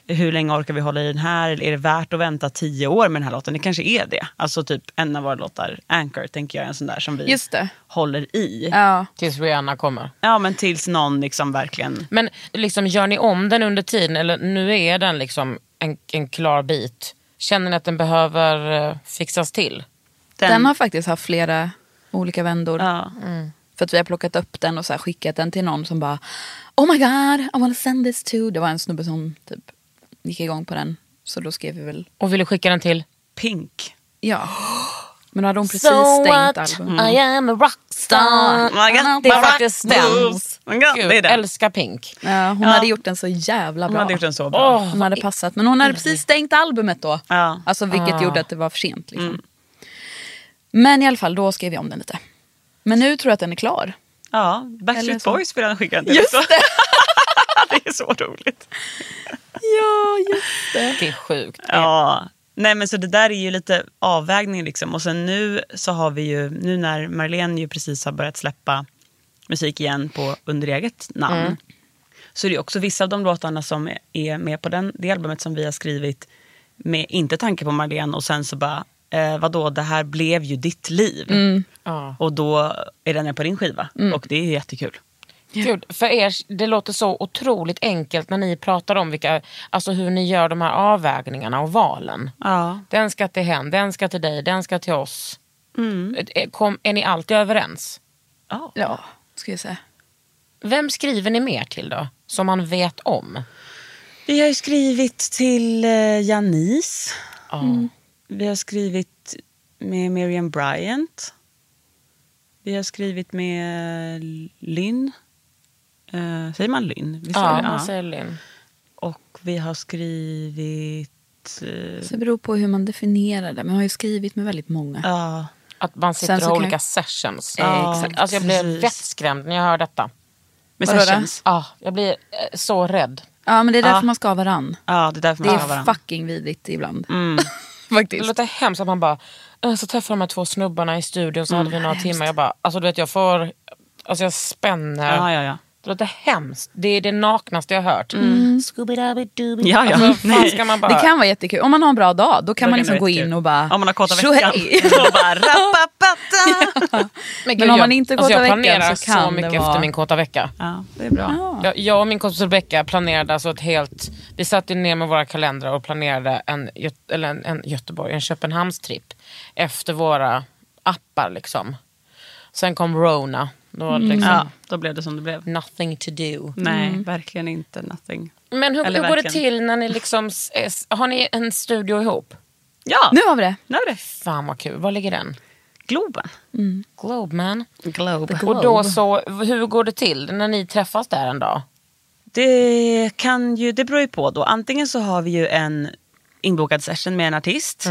Hur länge orkar vi hålla i den här? Eller är det värt att vänta tio år med den här låten? Det kanske är det. Alltså typ en av våra låtar, Anchor, tänker jag är en sån där som vi Just det. håller i. Ja. Ja. Tills Rihanna kommer. men tills någon liksom verkligen... Men liksom, gör ni om den under tiden eller nu är den liksom en, en klar bit? Känner ni att den behöver eh, fixas till? Den. har faktiskt haft flera olika vändor. ja. För att vi har plockat upp den och så här skickat den till någon som bara Oh my god, I wanna send this to. Det var en snubbe som typ gick igång på den. Så då skrev vi väl Och vill du skicka den till? Pink. ja. Men då hade hon precis so stängt what? Mm. albumet. I am a rockstar. Oh my God, Det är bara faktiskt den. moves. Oh my God, Ah, Gud, det är den. älskar Pink. Ja, hon hade gjort den så jävla Hon bra. hade gjort den så bra. Hon hade passat. Men hon Mm. hade precis stängt albumet då. Ja. Mm. Alltså vilket Ah. gjorde att det var för sent. Liksom. Men i alla fall, då skrev jag om den lite. Men nu tror jag att den är klar. Ja, Eller Backstreet så. Boys vill han skicka den till Just det! det är så roligt. Ja, just det. Det är sjukt. Ja. Nej men så det där är ju lite avvägning liksom. Och sen nu så har vi ju, nu när Marlene ju precis har börjat släppa musik igen på under eget namn. Så är det ju också vissa av de låtarna som är- är med på den, det albumet som vi har skrivit med inte tanke på Marlene och sen så bara, eh, vadå det här blev ju ditt liv. Ja. Och då är den med på din skiva och det är jättekul. Gud, för er, det låter så otroligt enkelt när ni pratar om vilka, alltså hur ni gör de här avvägningarna och valen. Ja. Den ska till hen, den ska till dig, den ska till oss. Mm. Eh, Kom, är ni alltid överens? Ja. Ja, ska jag säga. Vem skriver ni mer till då? Som man vet om? Vi har ju skrivit till eh, Janice. Mm. Vi har skrivit med Miriam Bryant. Vi har skrivit med Lynn. Eh, säger man Lynn? Visst är Ja, det? man säger Linn. Och vi har skrivit... eh, Så det beror på hur man definierar det. Men jag har ju skrivit med väldigt många. Ja, Att man sitter Sen och så har kan- olika sessions. Ja, Exakt. Alltså jag blir precis. vettskrämd när jag hör detta. med Vadå då? sessions. Ah, jag blir eh, så rädd. Ja, men det är därför Ja. man ska ha varann. Ja, det är därför Det man är har varandra. fucking vidrigt ibland. Mm. Det Faktiskt. låter hemskt att man bara, "Eh, så träffade de här två snubbarna i studion så Mm, hade vi några timmar. Jag bara, alltså du vet jag får, alltså jag spänner. Ja, ja, ja. Det låter hemskt. Det är det naknaste jag har hört. Scooby-Dooby-Dooby. Ja, ja. Alltså, fan Nej. ska man bara... Mm. Det kan vara jättekul. Om man har en bra dag, då kan Då man kan det liksom vara gå jättekul. in och bara... Om man har korta Mm. "Tjohej!" veckan. Då bara... rappapapta. men, men om man inte alltså, korta jag veckan planerar så kan så det mycket vara- efter min korta vecka. Ja, det är bra. Jag, jag och min kompis Rebecka planerade alltså ett helt... Vi satte ner med våra kalendrar och planerade en, Gö- eller en, en Göteborg, en Köpenhamnstripp efter våra appar liksom. Sen kom Rona. Då var det liksom Mm. Ja, då blev det som det blev. nothing to do. Nej, verkligen inte. Nothing. Men hur, Eller hur går det verkligen. till när ni liksom... s- s- Har ni en studio ihop? Ja, Nu har vi det. nu är det. Fan vad kul. Var ligger den? Globen. Globeman. Globe. Och då så, hur går det till när ni träffas där en dag? Det, kan ju, det beror ju på. Då. Antingen så har vi ju en inbokad session med en artist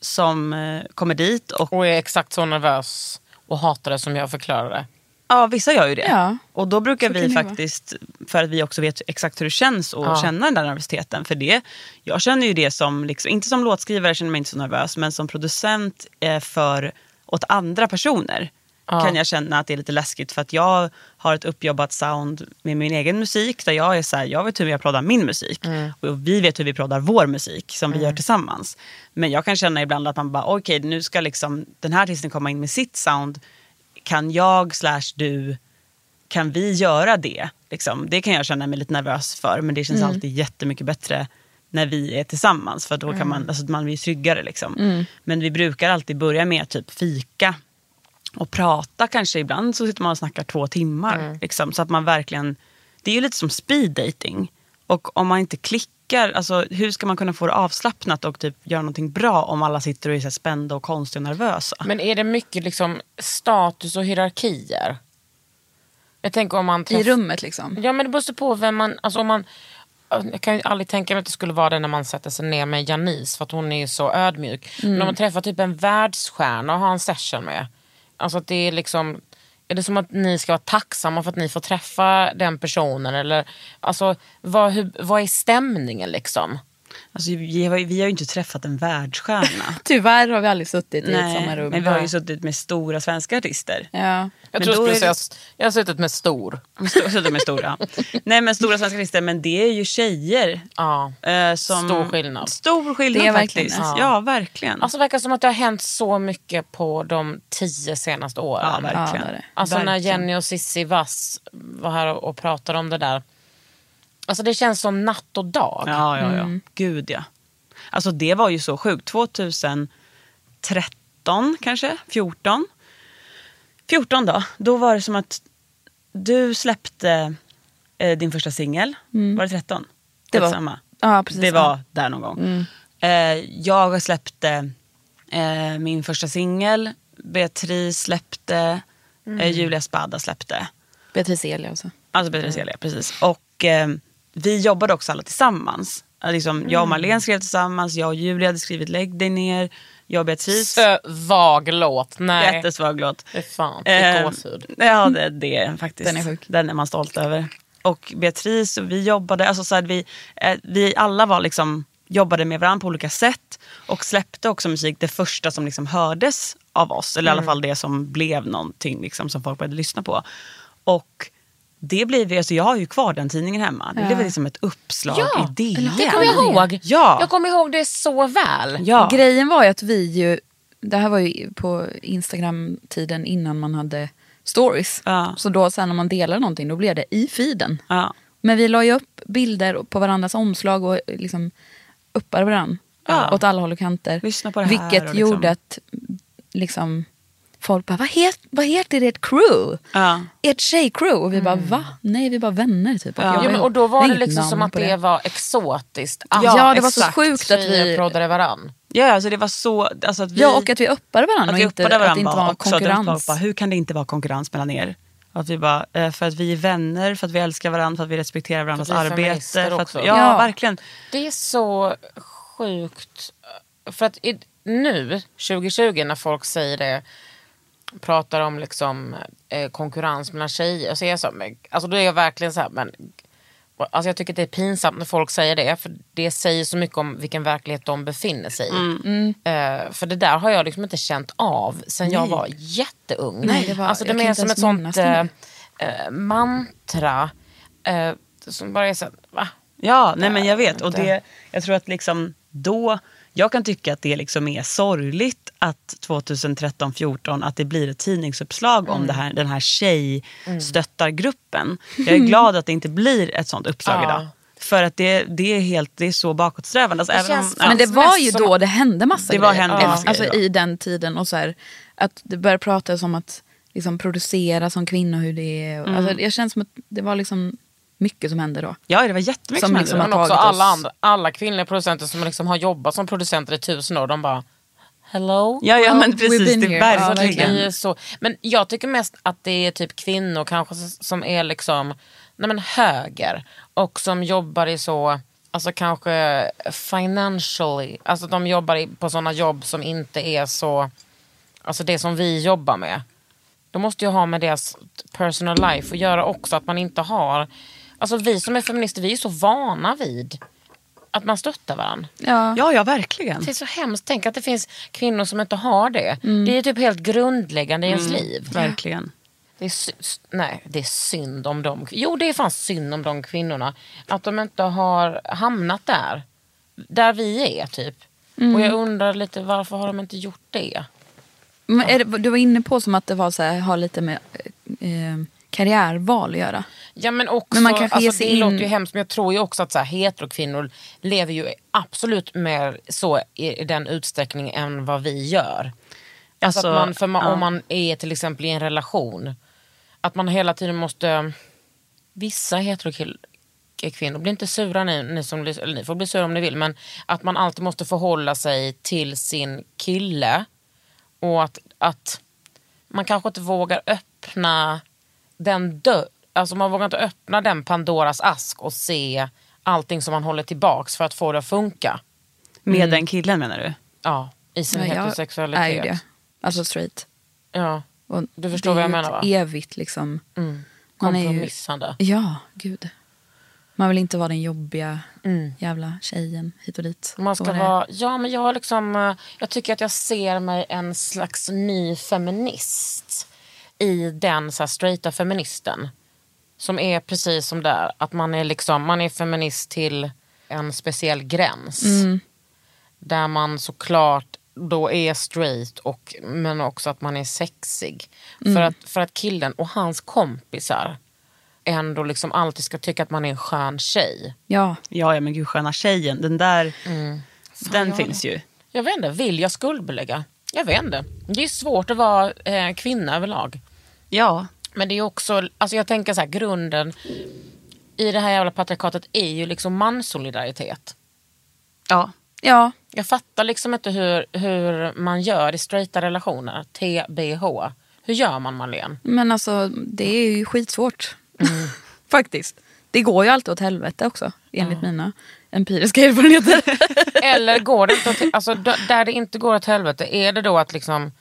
som eh, kommer dit. Och, Och är exakt så nervös och hatar det som jag förklarade. ja, vissa gör ju det. Ja. Och då brukar Så Alltså, kan vi det vara. faktiskt, för att vi också vet exakt hur det känns att Ja. känna den där nervositeten. För det, jag känner ju det som, liksom, inte som låtskrivare känner jag mig inte så nervös, men som producent eh, för, åt andra personer kan jag känna att det är lite läskigt. För att jag har ett uppjobbat sound med min egen musik, där jag är så här, jag vet hur jag proddar min musik. Mm. Och vi vet hur vi proddar vår musik, som vi gör tillsammans. Men jag kan känna ibland att man bara, okej nu ska liksom den här artisten komma in med sitt sound kan jag slash du, kan vi göra det? Liksom, det kan jag känna mig lite nervös för men det känns Mm. alltid jättemycket bättre när vi är tillsammans för då kan Mm. man, alltså, man blir tryggare. Liksom. Mm. Men vi brukar alltid börja med typ fika och prata kanske. Ibland så sitter man och snackar två timmar. Mm. Liksom, så att man verkligen, det är ju lite som speed dating. Och om man inte klickar, alltså, hur ska man kunna få det avslappnat och typ göra någonting bra om alla sitter och är så här spända och konstiga och nervösa? Men är det mycket liksom status och hierarkier? Jag tänker om man I träff- rummet liksom. Ja men det beror så på vem man, alltså om man jag kan ju aldrig tänka mig att det skulle vara det när man sätter sig ner med Janice för att hon är ju så ödmjuk. Mm. Men om man träffar typ en världsstjärna och har en session med. Alltså att det är liksom, är det som att ni ska vara tacksamma för att ni får träffa den personen? Eller alltså vad, hur, vad är stämningen liksom? Alltså, vi, har, ju- vi har ju inte träffat en världsstjärna. Tyvärr har vi aldrig suttit i ett samma Nej, rum. men vi har ju suttit med stora svenska artister. Ja. Jag Men tror då jag är skulle det- säga, jag har suttit med stor. Sto- Suttit med stora. Nej men stora svenska artister, men det är ju tjejer. Ja. eh, som, Stor skillnad. Stor skillnad Det är verkligen faktiskt. det. Ja, verkligen. Alltså det verkar som att det har hänt så mycket på de tio senaste åren. ja, Ja, det verkligen. är det. Alltså när verkligen. Jenny och Sissi Vass var här och och pratade om det där. Alltså det känns som natt och dag. Ja, ja, ja. Mm. Gud ja. Alltså det var ju så sjukt. 2013 kanske, 14. 14 då, då var det som att du släppte eh, din första singel. Var det 13? Mm. Det var- Skitsamma. Ja, Mm. precis. det var där någon gång. Eh, jag släppte eh, min första singel. Beatrice släppte. Mm. Eh, Julia Spada släppte. Beatrice Elia också. Alltså Petra Celia, precis. Och eh, vi jobbade också alla tillsammans. Eh, Liksom, Jag och Marlene skrev tillsammans, jag och Julia hade skrivit Lägg dig ner, jag och Beatrice. Så vag låt. Nej. Jättesvag låt. Fy fan, fick Eh, gåshud. Ja, det, det är faktiskt. Den är sjuk. Den är man stolt över. Och Beatrice och vi jobbade, alltså så här, vi, eh, vi alla var liksom, jobbade med varandra på olika sätt och släppte också musik, det första som liksom hördes av oss, eller i Mm. alla fall det som blev någonting liksom, som folk började lyssna på. Och det blev, ju- alltså jag har ju kvar den tidningen hemma. Det blev liksom ett uppslag Ja, i DN. Det kommer jag ihåg. Ja. Jag kommer ihåg det så väl. Ja. Grejen var ju att vi ju, det här var ju på Instagram-tiden innan man hade stories. Ja. Så då sen när man delade någonting då blev det i feeden. Ja. Men vi la ju upp bilder på varandras omslag och liksom uppade varandra. Ja. Åt alla håll och kanter. Lyssna på det här Vilket och liksom- gjorde att liksom, folk bara, vad, het, vad heter ert crew? Ja. Ert tjejcrew? Och vi bara, va? Nej, vi är bara vänner typ. Och, jag bara, Jo, men, och då var "Det är det inget liksom namn som att på det, var exotiskt. Ah, Ja, det var så sjukt att Tjejer vi- proddade varann. Ja, alltså det var så... Alltså att vi, Ja, och att vi uppade varandra Att och vi inte, uppade varandra att det inte var också, att folk konkurrens. Bara, hur kan det inte vara konkurrens mellan er? Att vi bara, eh, för att vi är vänner, för att vi älskar varandra, för att vi respekterar varandras För att vi är arbete. feminister För att, också. ja, Ja. verkligen. Det är så sjukt. För att i, nu, 2020, när folk säger det, pratar om liksom, eh, konkurrens mellan tjejer, så är jag så, här, men, alltså då är jag verkligen så här, men Alltså jag tycker att det är pinsamt när folk säger det, för det säger så mycket om vilken verklighet de befinner sig i. Mm. Eh, för det där har jag liksom inte känt av sen jag var jätteung. Nej, det var- alltså jag det kan är inte som ett ens sånt minnas det eh, eh, mantra eh, som bara är så här, va? Ja, nej men jag vet. Och inte. det, jag tror att liksom då, jag kan tycka att det liksom är sorgligt att 2013-14 att det blir ett tidningsuppslag Mm. om det här, den här tjejstöttargruppen. Jag är glad att det inte blir ett sånt uppslag Ja. idag. För att det, det, är, helt, det är så bakåtsträvande. Alltså, även om, känns ja. Men det som var är ju så- då det hände massa Det var- grejer. hände massa alltså, grejer då. I den tiden och så här, att det började pratas om att liksom, producera som kvinna och hur det är. Och, Mm. Alltså, jag känns som att det var liksom mycket som hände då. ja, det var jättemycket Som som, liksom hände. Men också tagit oss. alla, andra, alla kvinnliga producenter som liksom har jobbat som producenter i tusen år, de bara Hello? Ja, ja Well, men we've precis. been Det here. är Ja, verkligen. verkligen. Ni är så. Men jag tycker mest att det är typ kvinnor kanske s- som är liksom nej men höger och som jobbar i så, alltså kanske financially, alltså de jobbar i, på sådana jobb som inte är så, alltså det som vi jobbar med. Det måste ju ha med deras personal life att göra också, att man inte har, alltså vi som är feminister vi är så vana vid att man stöttar varandra. Ja. Ja, ja verkligen. Det är så hemskt. Tänk att det finns kvinnor som inte har det. Mm. Det är typ helt grundläggande i ens liv. Verkligen. Det är, sy- s- nej, det är synd om dem. Jo, det är fan synd om de kvinnorna. Att de inte har hamnat där. Mm. Där vi är, typ. Och jag undrar lite varför har de inte gjort det? Men är det, du var inne på som att det var så här, har lite med eh, karriärval att göra. Ja men också, Men man kanske ger alltså, sig det in- låter ju hemskt men jag tror ju också att så här, heterokvinnor lever ju absolut mer så i i den utsträckning än vad vi gör. Alltså, Alltså, att man, för man, ja. om man är till exempel i en relation, att man hela tiden måste, vissa heterokvinnor, blir inte sura ni, ni som lys- eller ni får bli sura om ni vill, men att man alltid måste förhålla sig till sin kille och att, att man kanske inte vågar öppna den dörr, alltså man vågar inte öppna den Pandoras ask och se allting som man håller tillbaks för att få det att funka. Med den killen menar du? Ja, i sin Ja, jag är ju heterosexualitet. det. Alltså straight. Ja. Och Du förstår det vad jag är ju menar, va? Mm. ett evigt liksom. Man är ju- Kompromissande. Ja, gud. Man vill inte vara den jobbiga jävla tjejen hit och dit. Mm. Man ska Så det- vara, ja men jag har liksom, eh, jag tycker att jag ser mig en slags ny feminist i den så här, straighta feministen. Som är precis som där, att man är liksom, man är feminist till en speciell gräns. Där man såklart då är straight och, men också att man är sexig. För, att, för att killen och hans kompisar ändå liksom alltid ska tycka att man är en skön tjej. Ja, Ja, ja men gud sköna tjejen, den där, den ja, finns ju. Jag vet inte, vill jag skuldbelägga? Jag vet inte. Det är svårt att vara eh, kvinna överlag. Ja, Men det är också, alltså jag tänker så här, grunden i det här jävla patriarkatet är ju liksom manssolidaritet. ja. ja. Jag fattar liksom inte hur, hur man gör i straighta relationer, TBH. Hur gör man Marlene? Men alltså det är ju skitsvårt. Mm. Faktiskt. Det går ju alltid åt helvete också. Enligt mina empiriska erfarenheter. Eller går det inte åt, alltså, d- där det inte går åt helvete, är det då att liksom,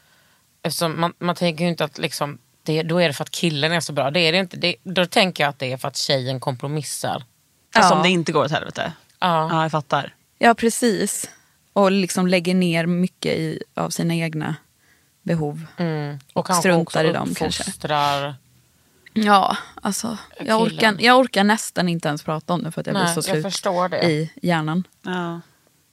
eftersom man, man tänker ju inte att liksom, det, då är det för att killen är så bra. Det är det inte. Det, då tänker jag att det är för att tjejen kompromissar. Alltså Ja. om det inte går åt helvete. Ja. Ja, jag fattar. ja, precis. Och liksom lägger ner mycket i, av sina egna behov. Mm. Och struntar i dem, uppfostrar. Ja, alltså. Jag orkar, Killen. jag orkar nästan inte ens prata om det för att jag Nej, blir så jag slut förstår det. i hjärnan. Ja.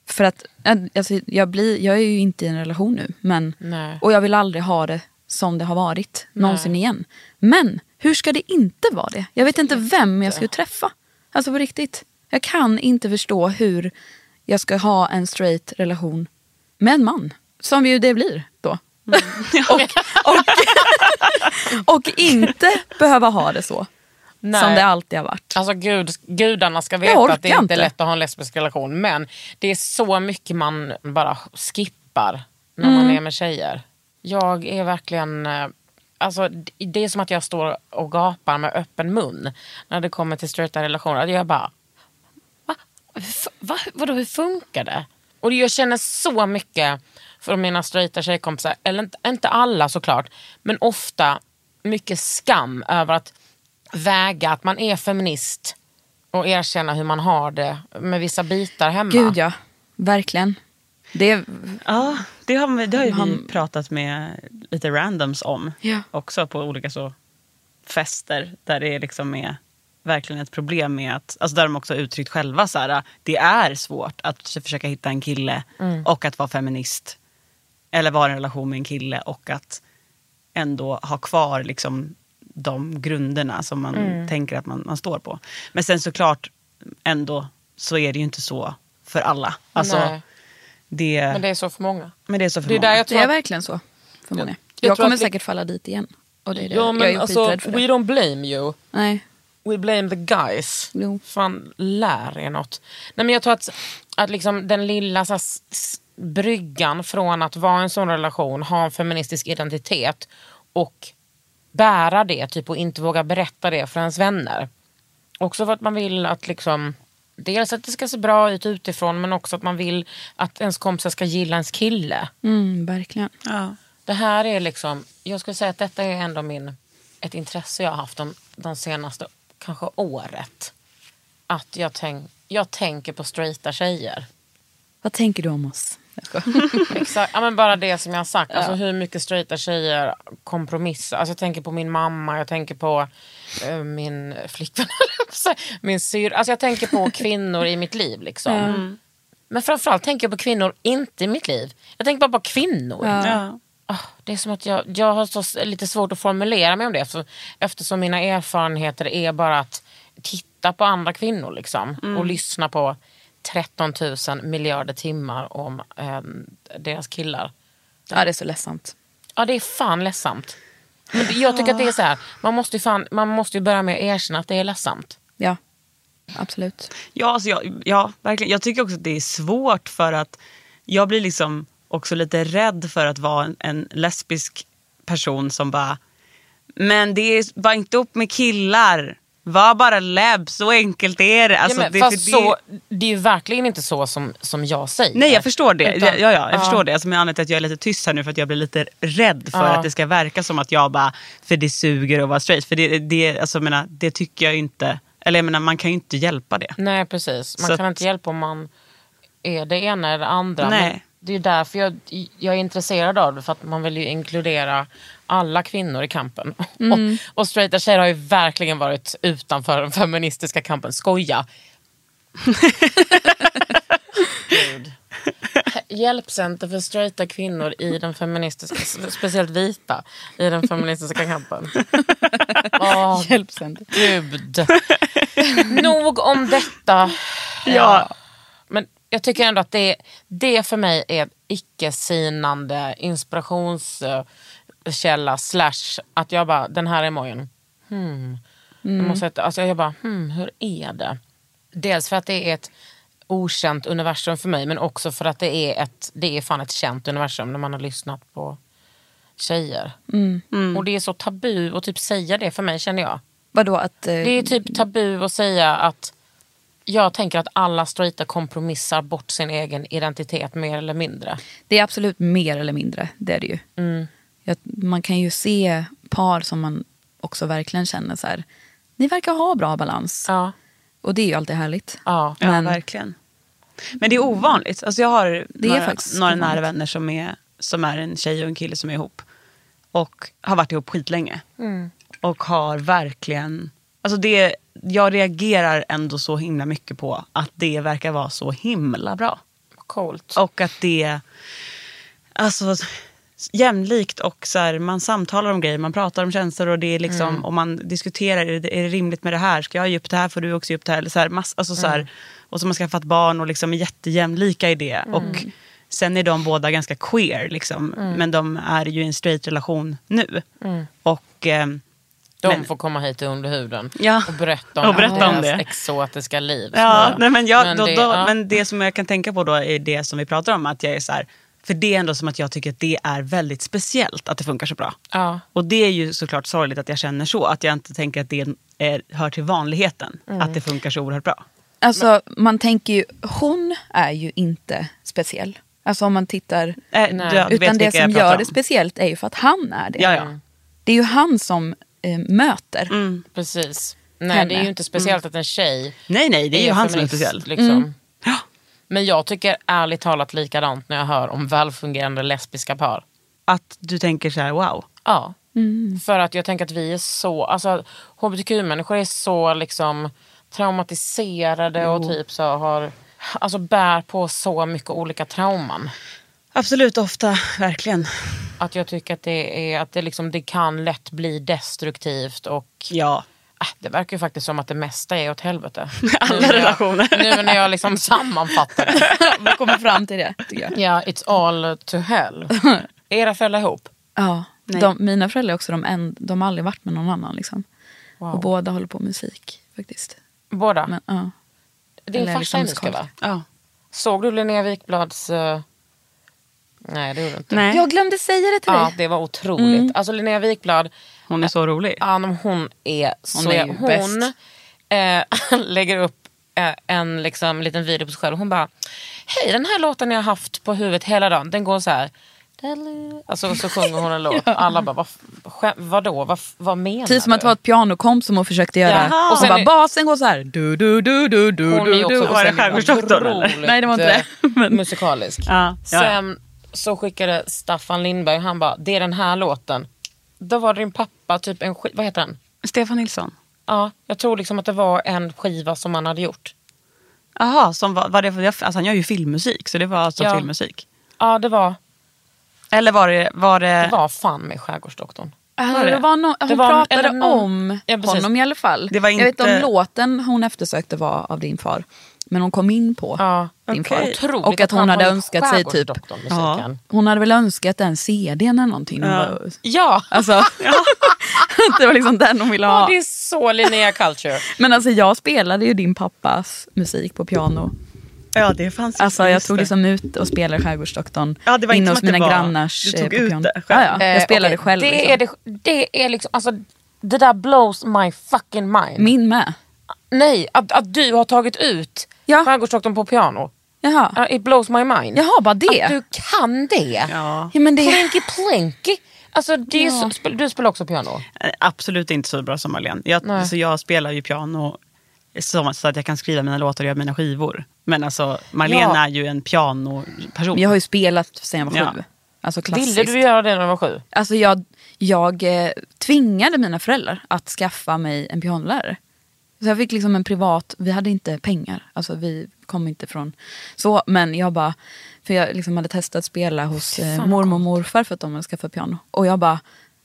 För att äh, alltså, jag, blir, jag är ju inte i en relation nu. Men, Nej. och jag vill aldrig ha det som det har varit. Någonsin igen. Men hur ska det inte vara det? Jag vet inte vem jag skulle träffa. Alltså på riktigt. Jag kan inte förstå hur jag ska ha en straight relation med en man. Som ju det blir då. Mm. och, och, och inte behöva ha det så. Nej. Som det alltid har varit. Alltså gud, gudarna ska veta orkar att det inte inte. är lätt att ha en lesbisk relation. Men det är så mycket man bara skippar när Mm. man är med tjejer. Jag är verkligen... eh, Alltså, d- det är som att jag står och gapar med öppen mun när det kommer till straighta relationer. Jag bara... Va? Hur fu- Va? Vadå, hur funkar det? Och jag känner så mycket från mina straighta tjejkompisar, eller inte, inte alla såklart, men ofta mycket skam över att väga att man är feminist och erkänna hur man har det med vissa bitar hemma. Gud ja, verkligen. Det, Ja, det har, vi- det har ju vi Han- pratat med lite randoms om. Ja. Också på olika så fester där det är liksom är verkligen ett problem med att, alltså där de också har uttryckt själva så här, det är svårt att försöka hitta en kille Mm. och att vara feminist. Eller vara i en relation med en kille och att ändå ha kvar liksom de grunderna som man Mm. tänker att man, man står på. Men sen såklart ändå så är det ju inte så för alla. Alltså, Nej, det, men det är så för många. men det är så för Det är många. där jag det tror är att- verkligen så för många. jag tror Jag, kommer att det- säkert falla dit igen. Och det är det. ja, jag är men ju alltså, skiträdd för we det. don't blame you. Nej. We blame the guys. Jo. Fan, lär er något. Nej, men jag tror att, att liksom den lilla så här, s- s- bryggan från att vara i en sån relation, ha en feministisk identitet och bära det typ, och inte våga berätta det för ens vänner. Också för att man vill att liksom, dels att det ska se bra ut utifrån men också att man vill att ens kompisar ska gilla ens kille. Mm, verkligen. Ja. Det här är liksom, jag skulle säga att detta är ändå min, ett intresse jag har haft de, de senaste kanske året. Att jag, tänk, jag tänker på straighta tjejer. Vad tänker du om oss? Exakt, ja, men bara det som jag har sagt, alltså, hur mycket straighta tjejer kompromissar. Alltså, jag tänker på min mamma, jag tänker på eh, min flickvän, höll jag på att säga. min syr. Alltså Jag tänker på kvinnor i mitt liv. Liksom. Men framförallt tänker jag på kvinnor inte i mitt liv. Jag tänker bara på kvinnor. Ja. ah, det är som att jag, jag har så, s- lite svårt att formulera mig om det eftersom, eftersom mina erfarenheter är bara att titta på andra kvinnor liksom, Mm. och lyssna på 13 000 miljarder timmar om eh, deras killar. Ja, det är så ledsamt. Ja, det är fan ledsamt. Men det- jag tycker att det är så här, man måste ju, fan, man måste ju börja med att erkänna att det är ledsamt. Ja, absolut. Ja, alltså jag, ja, verkligen. Jag tycker också att det är svårt för att jag blir liksom också lite rädd för att vara en, en lesbisk person som bara, men det är bara inte upp med killar. Var bara leb, så enkelt är det. Alltså, ja, men, det, fast för så, det- det är ju verkligen inte så som, som jag säger. Nej jag förstår det. Utan- ja, ja, jag förstår det. Alltså, men anledningen till att jag är lite tyst här nu för att jag blir lite rädd för Ja. att det ska verka som att jag bara, för det suger att vara straight. För det, det, alltså, jag menar, det tycker jag inte, eller jag menar, man kan ju inte hjälpa det. Nej precis, man Så kan att- inte hjälpa om man är det ena eller det andra. Nej. Men det är ju därför jag, jag är intresserad av det, för att man vill ju inkludera alla kvinnor i kampen. Och, och straighta tjejer har ju verkligen varit utanför den feministiska kampen. Skoja! Gud. Hjälpcenter för straighta kvinnor i den feministiska, speciellt vita, i den feministiska kampen. Åh, Hjälpsamt. gud. Nog om detta. Ja. Men jag tycker ändå att det, det för mig är ett icke-sinande inspirationskälla slash att jag bara, den här emojin. Hmm. Jag, måste, sätta- alltså jag bara, hmm, hur är det? Dels för att det är ett okänt universum för mig men också för att det är, ett, det är fan ett känt universum när man har lyssnat på tjejer. Och det är så tabu att typ säga det för mig känner jag. Vadå att... Eh, Det är typ tabu att säga att jag tänker att alla straighta kompromissar bort sin egen identitet mer eller mindre. Det är absolut mer eller mindre, det är det ju. Mm. Jag, man kan ju se par som man också verkligen känner så här, ni verkar ha bra balans. Ja. Och det är ju alltid härligt. Ja. Ja, Men- verkligen. Men det är ovanligt. Alltså jag har Det är några, faktiskt några ovanligt. nära vänner som är, som är en tjej och en kille som är ihop. Och har varit ihop skitlänge. Mm. Och har verkligen... Alltså det, jag reagerar ändå så himla mycket på att det verkar vara så himla bra. Coolt. Och att det... Alltså, jämlikt och så här, man samtalar om grejer, man pratar om känslor och det är liksom, och man diskuterar, är det, är det rimligt med det här? Ska jag ge upp det här? Får du också ge upp det här? Eller så här, mass, alltså så här, och så har man skaffat barn och liksom är jättejämlika i det. Och sen är de båda ganska queer, liksom, men de är ju i en straight relation nu. Och... ehm, De men- får komma hit till underhuden Ja. och berätta om, Och berätta om deras det. exotiska liv. Ja, nej, men, jag, då, det- då, ja. men det som jag kan tänka på då är det som vi pratar om. Att jag är så här, för det är ändå som att jag tycker att det är väldigt speciellt att det funkar så bra. Ja. Och det är ju såklart sorgligt att jag känner så. Att jag inte tänker att det är, hör till vanligheten. Att det funkar så oerhört bra. Alltså man tänker ju, hon är ju inte speciell. Alltså om man tittar. Eh, Nej. du- du vet utan vilka det jag som pratar gör om. det speciellt är ju för att han är det. Ja, Mm. ja. Det är ju han som eh, möter. Precis. Nej, Henne. det är ju inte speciellt att en tjej Nej, nej, Mm. det är ju han som är feminist, speciell. Mm. Liksom. Men jag tycker ärligt talat likadant när jag hör om välfungerande lesbiska par. Att du tänker så här, wow. Ja. För att jag tänker att vi är så, alltså hbtq-människor är så liksom traumatiserade och typ så har, alltså bär på så mycket olika trauman. Absolut, ofta, verkligen. Att jag tycker att det är, att det liksom, det kan lätt bli destruktivt och Ja. Ah, Det verkar ju faktiskt som att det mesta är åt helvete. Alla Nu när jag- relationer. Nu när jag liksom sammanfattar det. Vi kommer fram till det tycker jag. Ja, it's all to hell. Är Era föräldrar ihop? Ja, de, mina föräldrar är också de, en, de har aldrig varit med någon annan. Liksom. Wow. Och båda håller på med musik faktiskt. Båda? Men, ja. Din eller farsa är liksom musiker va? ja. Såg du Linnea Wikblads... eh, Nej, det gjorde du inte. Nej. Jag glömde säga det Mm. till Ja, dig. det var otroligt. Alltså Linnea Wikblad, Hon är så rolig. ja, men hon är så... är ju jä- bäst. eh, lägger upp eh, en liksom, liten video på sig själv. Hon bara, hej den här låten jag har haft på huvudet hela dagen, den går så här. "Dally." Alltså så sjunger hon en låt. Alla bara, vad, skä- vadå, vad, vad menar Typ som att det var ett pianokomp som hon försökte göra. Jaha. Och sen Hon bara, basen går så här. Du, du, du, du, du, Hon är du, ju du. också du- var det skärgårdsdoktorn, eller? otroligt, Nej, det var inte det, eh, men- musikalisk. Ja, ja. Sen så skickade Staffan Lindberg, han bara, det är den här låten. Då var det din pappa, typ en skiva, vad heter den? Stefan Nilsson. Ja, jag tror liksom att det var en skiva som han hade gjort. Jaha, som var, var det, för- alltså han gör ju filmmusik, så det var alltså Ja. filmmusik. Ja, det var. Eller var det... Var Det det, var fan med Skärgårdsdoktorn. Alltså, Var det? det var no- hon Det var- pratade eller någon- om Ja, precis. honom i alla fall. Det var Jag vet inte inte- om låten hon eftersökte var av din far. Men hon kom in på Ja, din okej. far. Otroligt Och att hon han hade var med önskat sig typ... Skärgårdsdoktorn-musiken. Hon hade väl önskat den CDn eller någonting. Hon bara- Ja. Alltså, det var liksom den hon ville ja, ha. det är så Linnea Culture. Men alltså jag spelade ju din pappas musik på piano. ja, det fanns ju- Alltså jag just tog det. liksom ut och spelade Skärgårdsdoktorn Ja, det var inte inne som hos att det mina var- grannars du tog eh, på ut piano. det själv. Ja, ja, jag Eh, spelade okej, själv. Det liksom. är, det, det är liksom, alltså det där blows my fucking mind. Min med. Nej, att, att du har tagit ut Ja. Skärgårdsdoktorn på piano. Jaha. Ja, It blows my mind. Jaha, bara det? Att du kan det. Ja. Ja, men det... Plinky plinky. Alltså, det är så, spel- du spelar också piano? Eh, Absolut inte så bra som Marlene. Jag, Nej. så jag spelar ju piano eh, så, så att jag kan skriva mina låtar och göra mina skivor. Men alltså, Marlene Ja. är ju en pianoperson. Jag har ju spelat sen jag var sju. Ja. Alltså klassiskt. Ville du göra det när du var sju? Alltså jag, jag eh, tvingade mina föräldrar att skaffa mig en pianolärare. Så jag fick liksom en privat, vi hade inte pengar, alltså vi kom inte från så. Men jag bara, för jag liksom hade testat att spela hos eh, mormor och morfar för att de hade skaffat piano. Och jag bara,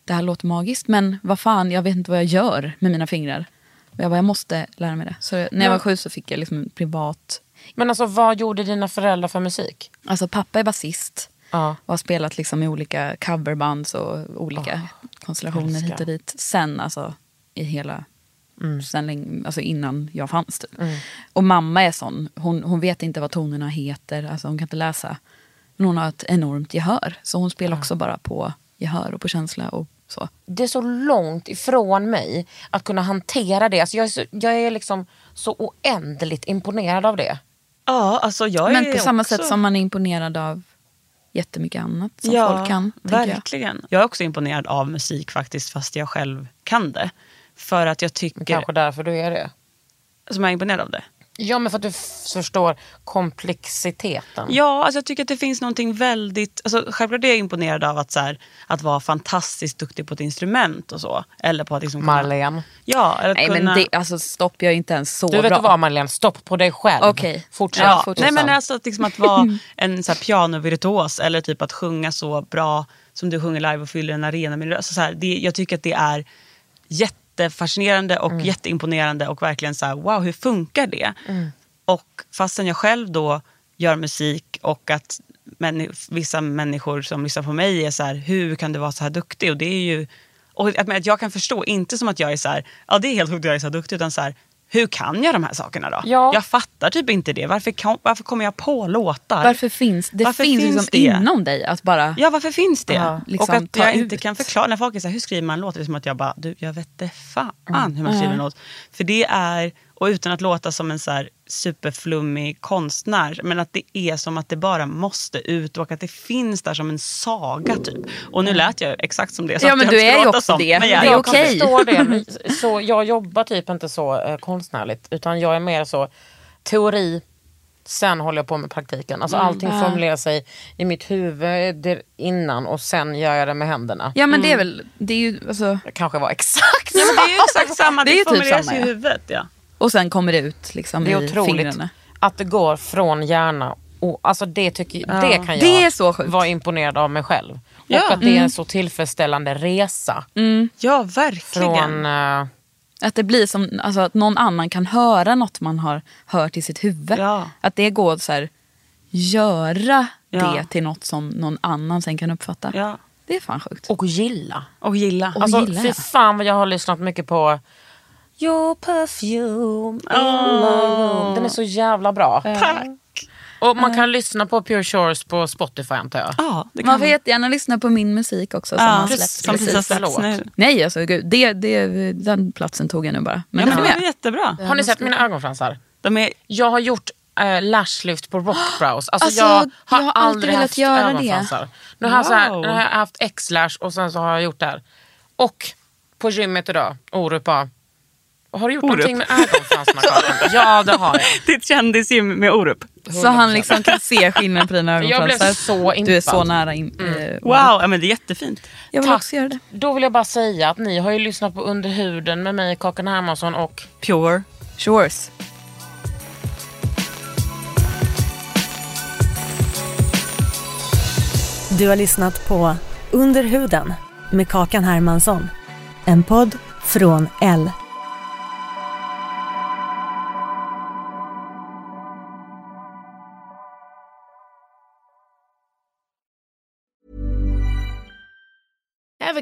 det här låter magiskt men vad fan, jag vet inte vad jag gör med mina fingrar. Och jag bara, jag måste lära mig det. Så när jag var sju så fick jag liksom en privat, Men alltså, vad gjorde dina föräldrar för musik? alltså pappa är basist. Ja. och har spelat liksom i olika coverbands och olika konstellationer hit och dit. Sen alltså i hela... Mm. Sen länge, alltså innan jag fanns typ. Och mamma är sån, hon, hon vet inte vad tonerna heter, alltså hon kan inte läsa. Men hon har ett enormt gehör, så hon spelar också bara på gehör och på känsla och så. det är så långt ifrån mig att kunna hantera det. Alltså jag, är så, jag är liksom så oändligt imponerad av det. Ja, alltså jag Men är på samma också... sätt som man är imponerad av jättemycket annat som folk kan. tänker Jag. verkligen. Jag. är också imponerad av musik faktiskt, fast jag själv kan det. För att jag tycker... Kanske därför du är det. Som jag är imponerad av det. Ja, men för att du f- förstår komplexiteten. Ja, alltså jag tycker att det finns någonting väldigt... Alltså självklart är jag imponerad av att, så här, att vara fantastiskt duktig på ett instrument och så. Eller på att liksom... kunna- Marlene. Ja, eller att Nej kunna... men det, alltså stopp, jag är inte ens så Du vet bra. du vad Marlene, stopp på dig själv. Okej. Fortsätt. Ja, fortsätt. nej men Susanne. alltså att, liksom att vara en så här, pianovirtuos eller typ att sjunga så bra som du sjunger live och fyller en arena med din röst. Så här, det, jag tycker att det är jättefascinerande och Mm. jätteimponerande och verkligen så här, wow hur funkar det? Mm. Och fastän jag själv då gör musik och att männi- vissa människor som lyssnar på mig är så här, hur kan du vara så här duktig? Och det är ju, och att, men att jag kan förstå, inte som att jag är så här, ja det är helt sjukt att jag är så här duktig, utan så här, hur kan jag de här sakerna då? Ja. Jag fattar typ inte det. Varför, kom, varför kommer jag på låtar? Varför finns det? Varför finns, finns liksom det? inom dig att bara... Ja, varför finns det? Ja, liksom, och att ta jag inte ut. kan förklara. När folk är så här, hur skriver man en låt? Det är som att jag bara, du, jag vet det fan hur Mm. man skriver en låt. För det är, och utan att låta som en så här superflummig konstnär, men att det är som att det bara måste ut och att det finns där som en saga typ. Och nu lät jag exakt som det. så Mm. Ja, att men jag inte ska du är ju låta också som, det. Men jag Det är är jag också kan okej. förstå det. Men så jag jobbar typ inte så eh, konstnärligt utan jag är mer så teori, sen håller jag på med praktiken. Alltså Mm. allting formulerar sig i mitt huvud det- innan och sen gör jag det med händerna. Ja men det är väl, det är ju, alltså, Det kanske var exakt Mm. Ja, men det är ju exakt samma, Det det, är ju typ formuleras samma, i ja. huvudet. Ja. och sen kommer det ut liksom Det är i otroligt fingrarna. att det går från hjärna och, alltså det, tycker, det kan jag Det är så sjukt. Mm. vara imponerad av mig själv. Ja. Och att det är en så tillfredsställande resa ja, verkligen. från eh, Att det blir som, alltså att någon annan kan höra något man har hört i sitt huvud. Ja. Att det går så här, göra Ja. det till något som någon annan sen kan uppfatta. Ja. Det är fan sjukt. och gilla. Och gilla. Och Alltså gillar fy jag. fan vad jag har lyssnat mycket på Your perfume in my room. Den är så jävla bra. Eh. Tack. Och man kan lyssna på Pure Shores på Spotify antar jag. Ja, det kan Man får jättegärna lyssna på min musik också som har släppts. som precis har släppts Förlåt. nu. Nej alltså gud, det, det, den platsen tog jag nu bara. Men, Ja, men den de var är med. jättebra. Har ni sett mina ögonfransar? De är, Jag har gjort eh, lashlift på rockbrows. Alltså, Alltså, jag har, jag har alltid aldrig velat haft göra det. ögonfransar. Nu har, jag så här, Wow. nu har jag haft x-lash och sen så har jag gjort det här. Och på gymmet idag, Orup bara, har du gjort Orup? någonting med ögonfransarna Kakan? Ja det har jag. det är ett kändisgym med Orup. Så han liksom kan se skillnaden på dina Jag blev så ögonfransar. Du är så impad. Mm. nära. In, eh, Wow, ja, men det är jättefint. Jag vill Tack. också göra det. Då vill jag bara säga att ni har ju lyssnat på Under huden med mig, Kakan Hermansson och Pure. Shores. Du har lyssnat på Under huden med Kakan Hermansson. En podd från L. Ever